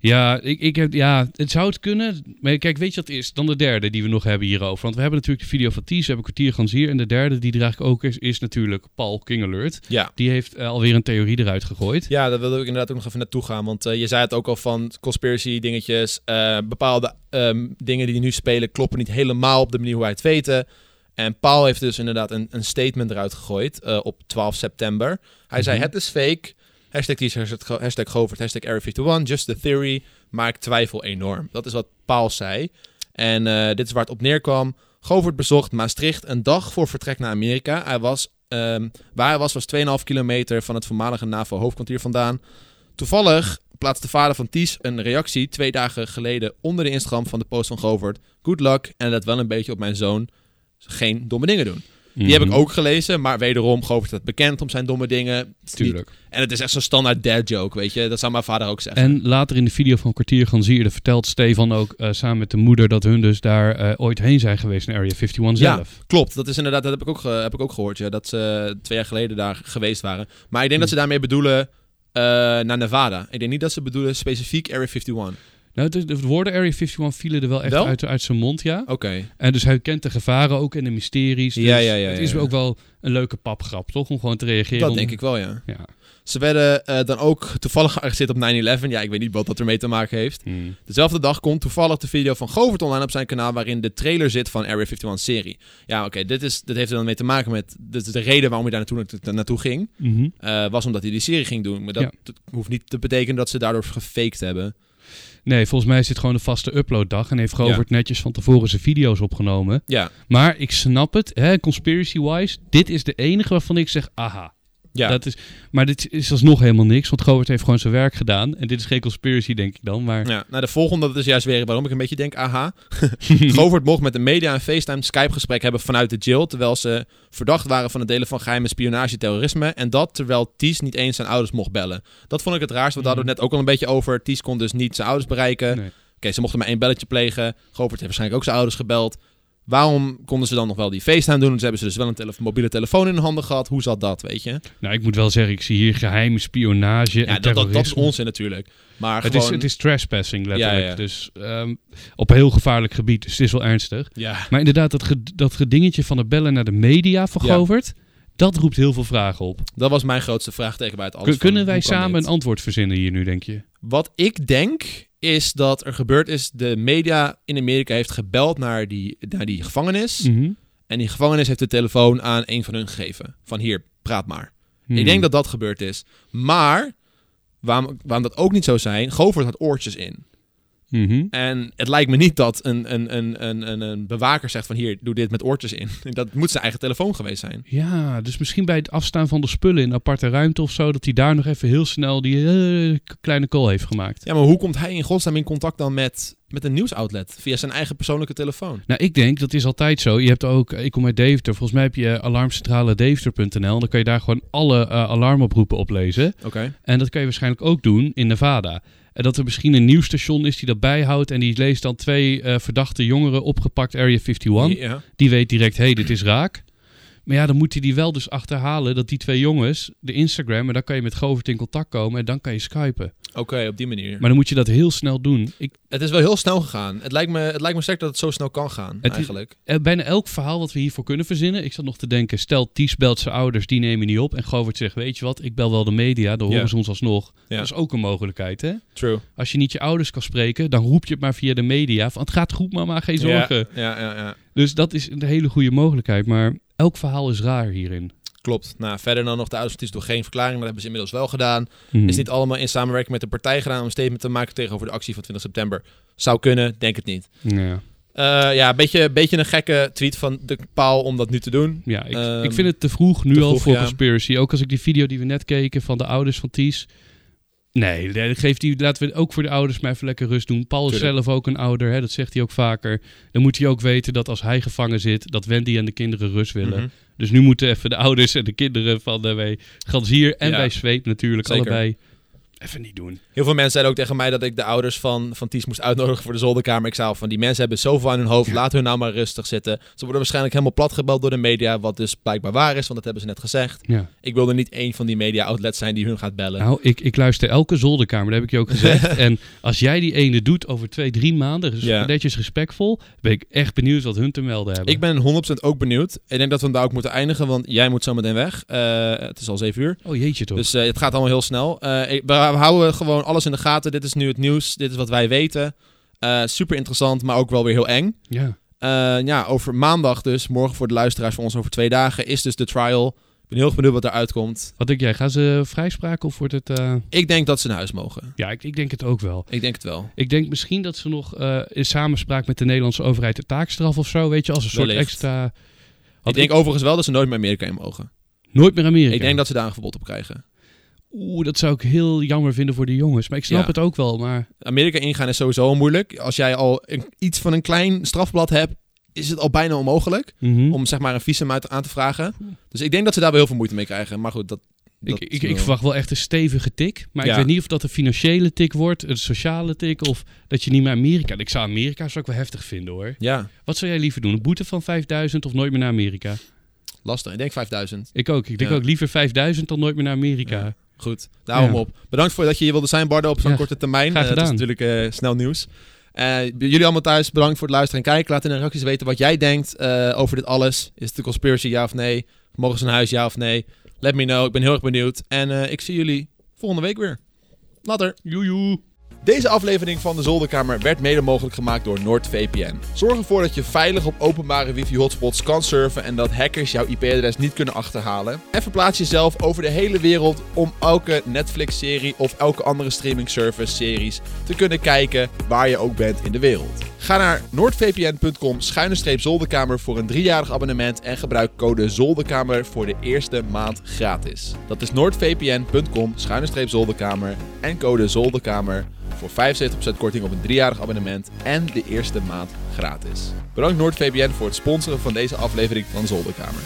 Speaker 2: Ja, ik, ik heb, ja, het zou het kunnen. Maar kijk, weet je wat het is? Dan de derde die we nog hebben hierover. Want we hebben natuurlijk de video van Ties, we hebben kwartier Gansier. En de derde die er eigenlijk ook is, is natuurlijk Paul Kingelert.
Speaker 1: Ja.
Speaker 2: Die heeft eh, alweer een theorie eruit gegooid.
Speaker 1: Ja, daar wilde ik inderdaad ook nog even naartoe gaan. Want eh, je zei het ook al van conspiracy dingetjes. eh, bepaalde ehm, dingen die nu spelen kloppen niet helemaal op de manier hoe wij het weten. En Paul heeft dus inderdaad een, een statement eruit gegooid eh, op 12 september. Hij zei,
Speaker 2: Mhm.
Speaker 1: het is fake. Hashtag Ties, hashtag Go- hashtag Govert, hashtag Area 51, just the theory. Maar ik twijfel enorm. Dat is wat Paul zei. En eh, dit is waar het op neerkwam. Govert bezocht Maastricht een dag voor vertrek naar Amerika. Hij was, ehm, waar hij was, was 2,5 kilometer van het voormalige NAVO-hoofdkwartier vandaan. Toevallig plaatste de vader van Ties een reactie twee dagen geleden onder de Instagram van de post van Govert. Good luck en let wel een beetje op mijn zoon. Geen domme dingen doen. Die
Speaker 2: Mhm,
Speaker 1: heb ik ook gelezen, maar wederom, Govert staat bekend om zijn domme dingen. Het is niet-
Speaker 2: Tuurlijk.
Speaker 1: En het is echt zo'n standaard dad joke, weet je. Dat zou mijn vader ook zeggen.
Speaker 2: En later in de video van Kwartier Ganzierde vertelt Stefan ook eh, samen met de moeder dat hun dus daar eh, ooit heen zijn geweest naar Area 51
Speaker 1: Ja.
Speaker 2: zelf.
Speaker 1: Klopt, dat is inderdaad, dat heb ik ook, ge- heb ik ook gehoord. Ja, dat ze eh, twee jaar geleden daar geweest waren. Maar ik denk dat ze daarmee bedoelen eh, naar Nevada. Ik denk niet dat ze bedoelen specifiek Area 51.
Speaker 2: Nou, het is- de woorden Area 51 vielen er wel echt
Speaker 1: Wel?
Speaker 2: Uit, uit zijn mond, ja.
Speaker 1: Oké.
Speaker 2: En dus hij kent de gevaren ook en de mysteries. Dus
Speaker 1: Ja, ja, ja,
Speaker 2: het
Speaker 1: ja,
Speaker 2: is
Speaker 1: ja.
Speaker 2: ook wel een leuke papgrap, toch? Om gewoon te reageren.
Speaker 1: Dat
Speaker 2: om-
Speaker 1: denk ik wel, ja.
Speaker 2: Ja.
Speaker 1: Ze werden eh, dan ook toevallig gearresteerd op 9-11. Ja, ik weet niet wat dat ermee te maken heeft.
Speaker 2: Hmm.
Speaker 1: Dezelfde dag komt toevallig de video van Govert online op zijn kanaal... waarin de trailer zit van Area 51-serie. Ja, oké, dit, is- dit heeft er dan mee te maken met... Dit is de reden waarom hij daar naartoe, naartoe ging.
Speaker 2: Mhm.
Speaker 1: eh, was omdat hij die serie ging doen. Maar dat,
Speaker 2: Ja.
Speaker 1: dat hoeft niet te betekenen dat ze daardoor gefaked hebben.
Speaker 2: Nee, volgens mij is dit gewoon een vaste uploaddag. En heeft Govert netjes van tevoren zijn video's opgenomen.
Speaker 1: Ja,
Speaker 2: Maar ik snap het, hè, conspiracy-wise. Dit is de enige waarvan ik zeg, aha.
Speaker 1: ja.
Speaker 2: Dat is, maar dit is alsnog helemaal niks, want Govert heeft gewoon zijn werk gedaan. En dit is geen conspiracy, denk ik dan. Maar
Speaker 1: Ja, nou de volgende, dat is juist weer waarom ik een beetje denk, aha. Govert mocht met de media een FaceTime Skype-gesprek hebben vanuit de jail, terwijl ze verdacht waren van het delen van geheime spionage en terrorisme. En dat terwijl Ties niet eens zijn ouders mocht bellen. Dat vond ik het raarst, want daar hadden we het net ook al een beetje over. Ties kon dus niet zijn ouders bereiken.
Speaker 2: Nee.
Speaker 1: Oké, ze mochten maar één belletje plegen. Govert heeft waarschijnlijk ook zijn ouders gebeld. Waarom konden ze dan nog wel die FaceTime doen? Dus hebben ze dus wel een tele- mobiele telefoon in hun handen gehad. Hoe zat dat, weet je?
Speaker 2: nou, ik moet wel zeggen, ik zie hier geheime spionage
Speaker 1: Ja, dat,
Speaker 2: en
Speaker 1: dat, dat is
Speaker 2: terrorisme.
Speaker 1: onzin natuurlijk. Maar
Speaker 2: het,
Speaker 1: gewoon...
Speaker 2: is, het is trespassing, letterlijk.
Speaker 1: Ja, ja.
Speaker 2: Dus ehm, op een heel gevaarlijk gebied, dus het is wel ernstig.
Speaker 1: Ja.
Speaker 2: Maar inderdaad, dat, ged- dat gedingetje van het bellen naar de media van
Speaker 1: Ja.
Speaker 2: Govert, dat roept heel veel vragen op.
Speaker 1: Dat was mijn grootste vraagteken bij het alles.
Speaker 2: Kun-
Speaker 1: van,
Speaker 2: kunnen wij
Speaker 1: hoe kan
Speaker 2: samen
Speaker 1: dit?
Speaker 2: een antwoord verzinnen hier nu, denk je?
Speaker 1: Wat ik denk is dat er gebeurd is, de media in Amerika heeft gebeld naar die, naar die gevangenis.
Speaker 2: Mm.
Speaker 1: En die gevangenis heeft de telefoon aan een van hun gegeven. Van hier, praat maar. Ik
Speaker 2: Mhm. Mm.
Speaker 1: denk dat dat gebeurd is. Maar, waarom, waarom dat ook niet zou zijn, Govert had oortjes in.
Speaker 2: Mhm.
Speaker 1: En het lijkt me niet dat een, een, een, een, een, een bewaker zegt van hier, doe dit met oortjes in. Dat moet zijn eigen telefoon geweest zijn.
Speaker 2: Ja, dus misschien bij het afstaan van de spullen in een aparte ruimte of zo, dat hij daar nog even heel snel die eh, k- kleine call heeft gemaakt.
Speaker 1: Ja, maar hoe komt hij in godsnaam in contact dan met, met een nieuwsoutlet? Via zijn eigen persoonlijke telefoon.
Speaker 2: Nou, ik denk, dat is altijd zo. Je hebt ook, eh, ik kom uit Deventer, volgens mij heb je eh, alarmcentraledeventer.nl. En dan kan je daar gewoon alle eh, alarmoproepen oplezen.
Speaker 1: Oké.
Speaker 2: En dat kan je waarschijnlijk ook doen in Nevada. En dat er misschien een nieuwsstation is die dat bijhoudt en die leest dan twee eh, verdachte jongeren opgepakt Area 51.
Speaker 1: Ja.
Speaker 2: Die weet direct, hé, hey, dit is raak. Maar ja, dan moet hij die wel dus achterhalen dat die twee jongens, de Instagram, en dan kan je met Govert in contact komen en dan kan je skypen.
Speaker 1: Oké, op die manier.
Speaker 2: Maar dan moet je dat heel snel doen. Ik,
Speaker 1: Het is wel heel snel gegaan. Het lijkt me, het lijkt me sterk dat het zo snel kan gaan,
Speaker 2: is-
Speaker 1: eigenlijk.
Speaker 2: eh, bijna elk verhaal wat we hiervoor kunnen verzinnen, ik zat nog te denken, stel Ties belt zijn ouders, die nemen niet op. En Govert zegt, weet je wat, ik bel wel de media, dan horen
Speaker 1: Ja.
Speaker 2: ze ons alsnog.
Speaker 1: Ja.
Speaker 2: Dat is ook een mogelijkheid, hè?
Speaker 1: True.
Speaker 2: Als je niet je ouders kan spreken, dan roep je het maar via de media. Van het gaat goed, mama, geen zorgen.
Speaker 1: Ja, ja, ja. ja.
Speaker 2: Dus dat is een hele goede mogelijkheid. Maar elk verhaal is raar hierin.
Speaker 1: Klopt. Nou, verder dan nog de uitstoot door geen verklaring. Dat hebben ze inmiddels wel gedaan.
Speaker 2: Mhm.
Speaker 1: Is niet allemaal in samenwerking met de partij gedaan om een statement te maken tegenover de actie van 20 september. Zou kunnen, denk het niet.
Speaker 2: Ja,
Speaker 1: Eh, ja, een beetje, beetje een gekke tweet van de paal om dat nu te doen.
Speaker 2: ja ik,
Speaker 1: Ehm,
Speaker 2: ik vind het te vroeg nu
Speaker 1: te
Speaker 2: al
Speaker 1: vroeg,
Speaker 2: voor
Speaker 1: ja.
Speaker 2: conspiracy. Ook als ik die video die we net keken van de ouders van Ties. Nee, nee, geef die, laten we ook voor de ouders maar even lekker rust doen. Paul is
Speaker 1: Tuurlijk.
Speaker 2: zelf ook een ouder, hè, dat zegt hij ook vaker. Dan moet hij ook weten dat als hij gevangen zit, dat Wendy en de kinderen rust willen.
Speaker 1: Mhm.
Speaker 2: Dus nu moeten even de ouders en de kinderen van eh, de bij Gansier en
Speaker 1: Ja.
Speaker 2: bij Zweep natuurlijk
Speaker 1: Zeker.
Speaker 2: allebei even niet doen.
Speaker 1: Heel veel mensen zeiden ook tegen mij dat ik de ouders van, van Ties moest uitnodigen voor de zolderkamer. Ik zei al van die mensen hebben zoveel aan hun hoofd, laat hun nou maar rustig zitten. Ze worden waarschijnlijk helemaal platgebeld door de media, wat dus blijkbaar waar is, want dat hebben ze net gezegd.
Speaker 2: Ja.
Speaker 1: Ik wilde niet één van die media outlets zijn die hun gaat bellen.
Speaker 2: Nou, ik, ik luister elke zolderkamer, dat heb ik je ook gezegd. en als jij die ene doet over twee, drie maanden, dus
Speaker 1: Ja.
Speaker 2: netjes respectvol, ben ik echt benieuwd wat hun te melden hebben.
Speaker 1: Ik ben 100% ook benieuwd. Ik denk dat we hem daar ook moeten eindigen, want jij moet zo meteen weg. Eh, het is al 7 uur.
Speaker 2: Oh jeetje toch.
Speaker 1: Dus eh, het gaat allemaal heel snel. Eh, ik- we, we houden gewoon alles in de gaten. Dit is nu het nieuws. Dit is wat wij weten. Eh, super interessant, maar ook wel weer heel eng.
Speaker 2: ja.
Speaker 1: Eh, ja, over maandag dus, morgen voor de luisteraars van ons over twee dagen, is dus de trial. Ik ben heel erg benieuwd wat eruit komt.
Speaker 2: Wat denk jij, gaan ze vrijspraken of wordt het... eh,
Speaker 1: Ik denk dat ze naar huis mogen.
Speaker 2: Ja, ik, ik denk het ook wel.
Speaker 1: Ik denk het wel.
Speaker 2: Ik denk misschien dat ze nog eh, in samenspraak met de Nederlandse overheid de taakstraf of zo, weet je, als een soort
Speaker 1: Wellicht.
Speaker 2: extra...
Speaker 1: ik
Speaker 2: Want
Speaker 1: denk overigens wel dat ze nooit meer Amerika in mogen.
Speaker 2: Nooit meer Amerika.
Speaker 1: Ik denk dat ze daar een verbod op krijgen.
Speaker 2: Oeh, dat zou ik heel jammer vinden voor de jongens. Maar ik snap
Speaker 1: Ja.
Speaker 2: het ook wel, maar...
Speaker 1: Amerika ingaan is sowieso al moeilijk. Als jij al een- iets van een klein strafblad hebt, is het al bijna onmogelijk
Speaker 2: Mhm.
Speaker 1: om zeg maar een visum uit, aan te vragen. Dus ik denk dat ze daar wel heel veel moeite mee krijgen. Maar goed, dat...
Speaker 2: Ik,
Speaker 1: dat
Speaker 2: ik,
Speaker 1: wel-
Speaker 2: ik verwacht wel echt een stevige tik. Maar
Speaker 1: Ja.
Speaker 2: ik weet niet of dat een financiële tik wordt, een sociale tik of dat je niet meer Amerika. Ik zou Amerika zou ik wel heftig vinden hoor.
Speaker 1: Ja,
Speaker 2: Wat zou jij liever doen? Een boete van 5000 of nooit meer naar Amerika?
Speaker 1: lastig. Ik denk 5000.
Speaker 2: Ik ook. Ik denk
Speaker 1: Ja.
Speaker 2: ook liever 5000 dan nooit meer naar Amerika.
Speaker 1: Ja. Goed, daarom
Speaker 2: Ja.
Speaker 1: op. Bedankt voor dat je hier wilde zijn, Bardo, op zo'n
Speaker 2: Ja,
Speaker 1: korte termijn.
Speaker 2: graag
Speaker 1: Eh, dat is
Speaker 2: gedaan.
Speaker 1: natuurlijk eh, snel nieuws. Eh, jullie allemaal thuis, bedankt voor het luisteren en kijken. Laat in de reacties weten wat jij denkt eh, over dit alles. Is het een conspiracy, ja of nee? Mogen ze naar huis, ja of nee? Let me know, ik ben heel erg benieuwd. En eh, ik zie jullie volgende week weer. Later.
Speaker 2: Joejoe.
Speaker 1: Deze aflevering van de Zolderkamer werd mede mogelijk gemaakt door NordVPN. Zorg ervoor dat je veilig op openbare wifi-hotspots kan surfen en dat hackers jouw IP-adres niet kunnen achterhalen. En verplaats jezelf over de hele wereld om elke Netflix-serie of elke andere streaming service-series te kunnen kijken waar je ook bent in de wereld. Ga naar noordvpn.com zolderkamer voor een driejarig abonnement en gebruik code zolderkamer voor de eerste maand gratis. Dat is noordvpn.com zolderkamer en code zolderkamer voor 75% korting op een driejarig abonnement en de eerste maand gratis. Bedankt NoordVPN voor het sponsoren van deze aflevering van Zolderkamer.